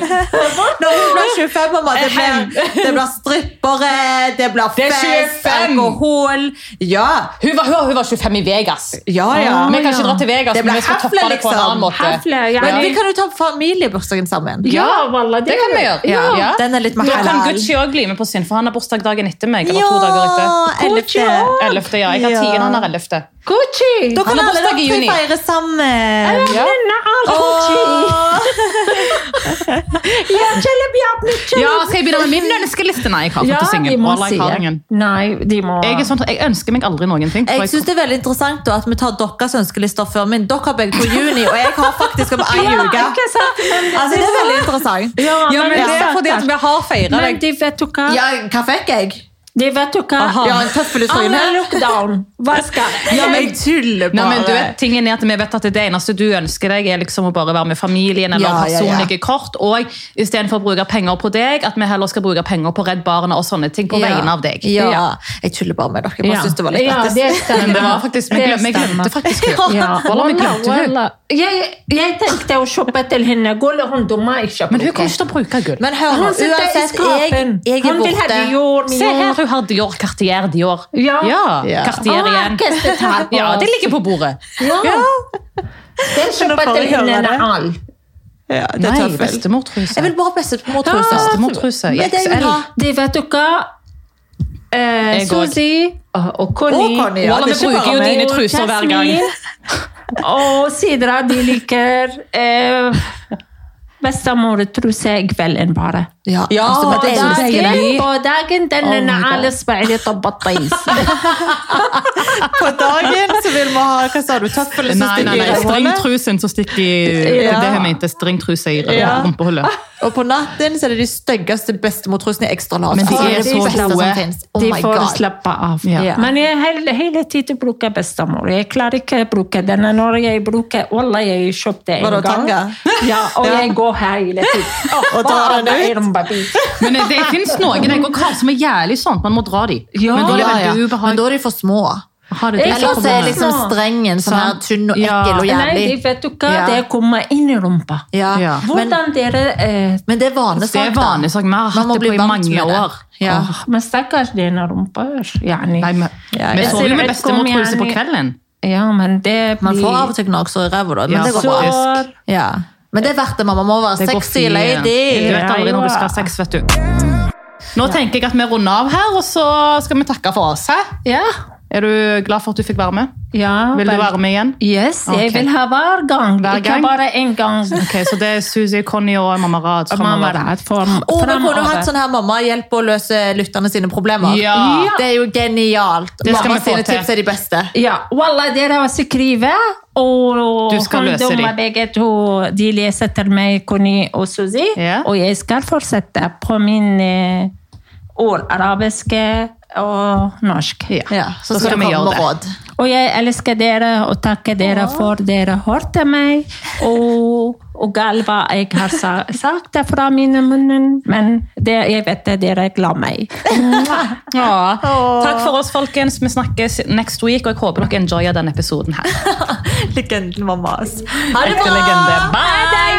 A: Når hun blir 25, mamma, det blir, det blir strippere, det blir
C: Det er
A: fest,
C: 25.
A: alkohol. Ja,
C: Hun var, hun, hun var 25 i Vegas.
A: ja, ja.
C: Vi kan ikke dra til Vegas,
A: Det
C: men
A: blir
C: vi skal toppe
A: hafle,
C: det på en
A: liksom.
C: annen måte.
B: Hafle, ja.
A: Men vi
B: ja,
A: kan jo ta familiebursdagen sammen.
B: wallah,
C: Det kan vi gjøre.
A: Ja,
C: Ja.
A: Den er litt mer
C: Da kan
A: halal.
C: Gucci òg bli med på sin, for han har bursdag dagen etter meg. Eller to
A: Ja,
C: dager etter.
A: 11..
C: Gucci også. 11. Ja, jeg har 10,
A: Ja.
C: han har 11.
B: Gucci!
A: Da
C: Han
A: kan
C: har
A: alle
C: bursdag i
A: dere
C: juni.
A: feire sammen.
C: Ja.
B: Denne er Gucci! Ja, Kjelleb, ja, men Kjelleb.
C: Ja, skal jeg begynne med min ønskeliste? Nei, jeg har
B: Ja,
C: fått
B: de må si
C: singen.
B: det. Nei, de må
C: Jeg, er sånn, jeg ønsker meg aldri noen ting. for
A: Jeg synes det er veldig interessant da, at vi tar deres ønskelister før min. Dere har begge på juni, og jeg har faktisk om
B: Ja,
A: en uke.
B: ikke sant? Men,
A: Altså, det er veldig interessant.
C: Ja, men det er
B: sant,
C: fordi at vi har feira
B: Men
C: deg.
B: de vet du hva?
A: Ja, hva fikk jeg?
B: De vet du hva?
A: Aha. Ja, en tøffel i trynet.
B: Alle lockdown. Hva skal
A: Ja, men jeg tuller
C: Nei,
A: bare.
C: men du vet, tingen er at Vi vet at det eneste du ønsker deg, er liksom å bare være med familien eller
A: Ja, ja, ja.
C: personlige kort. Og istedenfor å bruke penger på deg, at vi heller skal bruke penger på Redd Barna og sånne ting på
A: Ja.
C: vegne av deg.
A: Ja. jeg tuller bare med dere. Jeg bare
B: Ja.
A: synes det var litt
B: Ja,
A: lettest.
B: det stemmer.
C: Men det var faktisk, vi
B: Det
C: glemte, vi
B: stemmer.
C: glemte faktisk det.
B: Ja,
C: Wallah, vi glemte
B: wallah,
C: hun.
B: wallah. Jeg, jeg tenkte å shoppe til henne. Gull og hun dumma ikke
C: Men hun kommer ikke til å bruke gull.
A: Men hør, nå,
B: Han sitter i
A: uansett, jeg,
B: skapen.
A: jeg er
B: Han vil ha
A: borte.
B: Dior,
C: Se her,
B: Dior.
C: hun har Dior Cartier Dior.
B: Ja.
A: Ja.
C: Cartier
B: Ah,
C: igjen.
B: orkester tar på
C: Ja,
B: oss.
C: det ligger på bordet.
B: Ja. Den
A: Men da
B: shoppet
A: får
B: til
A: jeg høre
B: henne
A: det.
B: er all.
A: Ja, det er
C: Nei,
A: tøffel.
C: bestemortruse.
A: Jeg vil bare ha bestemortruse.
C: Ja, bestemortruse i
A: Men det er jo
C: XL.
A: bra.
B: De vet du hva? Eh,
C: Jeg går.
B: Susi og- og Conny.
A: Og Conny, ja.
C: Wallah,
A: det er
C: vi
A: ikke
C: bruker
A: bare
C: jo
A: meg.
C: dine truser hver gang.
B: Jasmin Og Sidra, de liker
C: آه،
B: eh, bestemortruse kvelden bare.
A: Ja,
C: Ja,
A: altså, men det er jo
C: det er
A: deilig.
B: داقن وداقن دنن
C: Oh my God.
B: على اصبعي طب الطيس
A: På dagen så vil vi ha Hva sa du? Tøffel som
C: Nei, nei,
A: stikker i
C: nei,
A: rødhålet?
C: stringtrusen som stikker i
A: Ja.
C: Det hun mente, stringtruse i
A: Ja.
C: rumpehullet.
A: Og på natten så er det de styggeste bestemortrusene i ekstra large.
C: Men de
A: Altså,
C: er
A: det
C: så
A: beste som
C: gode.
A: finnes. Oh
B: de
A: my
B: får
A: god.
B: slappe av.
C: Ja.
B: Men jeg hele, hele tiden bruker bestemor. Jeg klarer ikke å bruke denne når jeg bruker Wallah, jeg kjøpte en
A: Var det
B: gang.
A: tanga?
B: Ja, og jeg går her hele tiden.
A: Og tar den ut?
C: Men det finnes noen jeg og Karl som er jævlig sånn. Man må dra de.
B: Ja.
C: men da er det
A: Ja, ja.
C: veldig
A: Men da
C: ubehagelig.
A: er de for små.
C: Ha det, det
B: Jeg
C: er
A: Ellers er
C: sånn.
A: liksom
B: små.
A: strengen sånn her
C: Sånn.
A: tynn og
C: Ja.
A: ekkel og
B: Nei, de
A: jævlig.
B: vet du hva,
A: Ja.
B: det kommer inn i rumpa.
A: Ja.
C: Ja.
A: Men,
B: Hvordan dere eh,
A: men det er vanesak.
C: sånn- Det er
A: da.
C: vanesak. Vi har
A: Man
C: hatt
A: må
C: det
A: bli
C: på i
A: vant
C: mange
A: med det.
C: år.
A: Ja.
B: åh, Men stakkars dine rumper. yani.
C: Nei, men,
A: Ja,
C: Vi
A: ja.
C: sover jo med
B: Jeg ser-
C: bestemor
B: kom
C: truse på
B: gjerne-
C: kvelden.
B: Ja, men det blir
A: Man får av og til gnagsår i ræva, da. Men
C: Ja,
A: det går bra.
C: faktisk.
B: Sår.
A: Ja. Men det er verdt det, mamma. Må være
C: Det går
A: sexy
C: fint. Du
A: lady.
C: vet aldri når du skal ha sex, vet du. Nå tenker jeg at vi runder av her, og så skal vi takke for oss. hæ?
B: Ja.
C: Er du glad for at du fikk være med?
B: ja
C: Vil du
B: vel-
C: være med igjen?
B: Yes, jeg
C: Ok.
B: vil ha hver gang.
C: Hver
B: Ikke
C: gang?
B: bare én gang.
C: Ok, Så det er Suzy, Conny og Mamma Rad. som har
B: Mamma
C: vært-
B: rett for
A: Og vi kunne jo hatt
B: fremover.
A: sånn her mamma hjelp å løse lytterne sine problemer.
C: Ja.
A: Det er jo genialt.
C: Det skal
A: Mamma
C: vi få
A: sine
C: til.
A: tips er de beste.
B: Ja, wallah, dere har skrevet, og
C: Du skal løse de.
B: ungdommer begge to de leser til meg, Conny og Suzy.
C: Ja.
B: Og jeg skal fortsette på min eh, ord arabiske og norsk.
C: Ja.
A: Ja, så
C: Da skal
A: skal, du
C: vi
A: komme
C: gjøre
A: med
C: det.
A: råd.
B: Og jeg elsker dere og takker dere for dere hørte meg. Og, og alt hva jeg har sa, sagt er fra mine munnen, men det, jeg vet at dere er glad i meg.
C: Ja. Takk for oss, folkens. Vi snakkes next week, og jeg håper dere enjoyer denne episoden her.
A: Legenden mamma. ass. Ha det
C: Ekte
A: bra!
C: legende. Bye!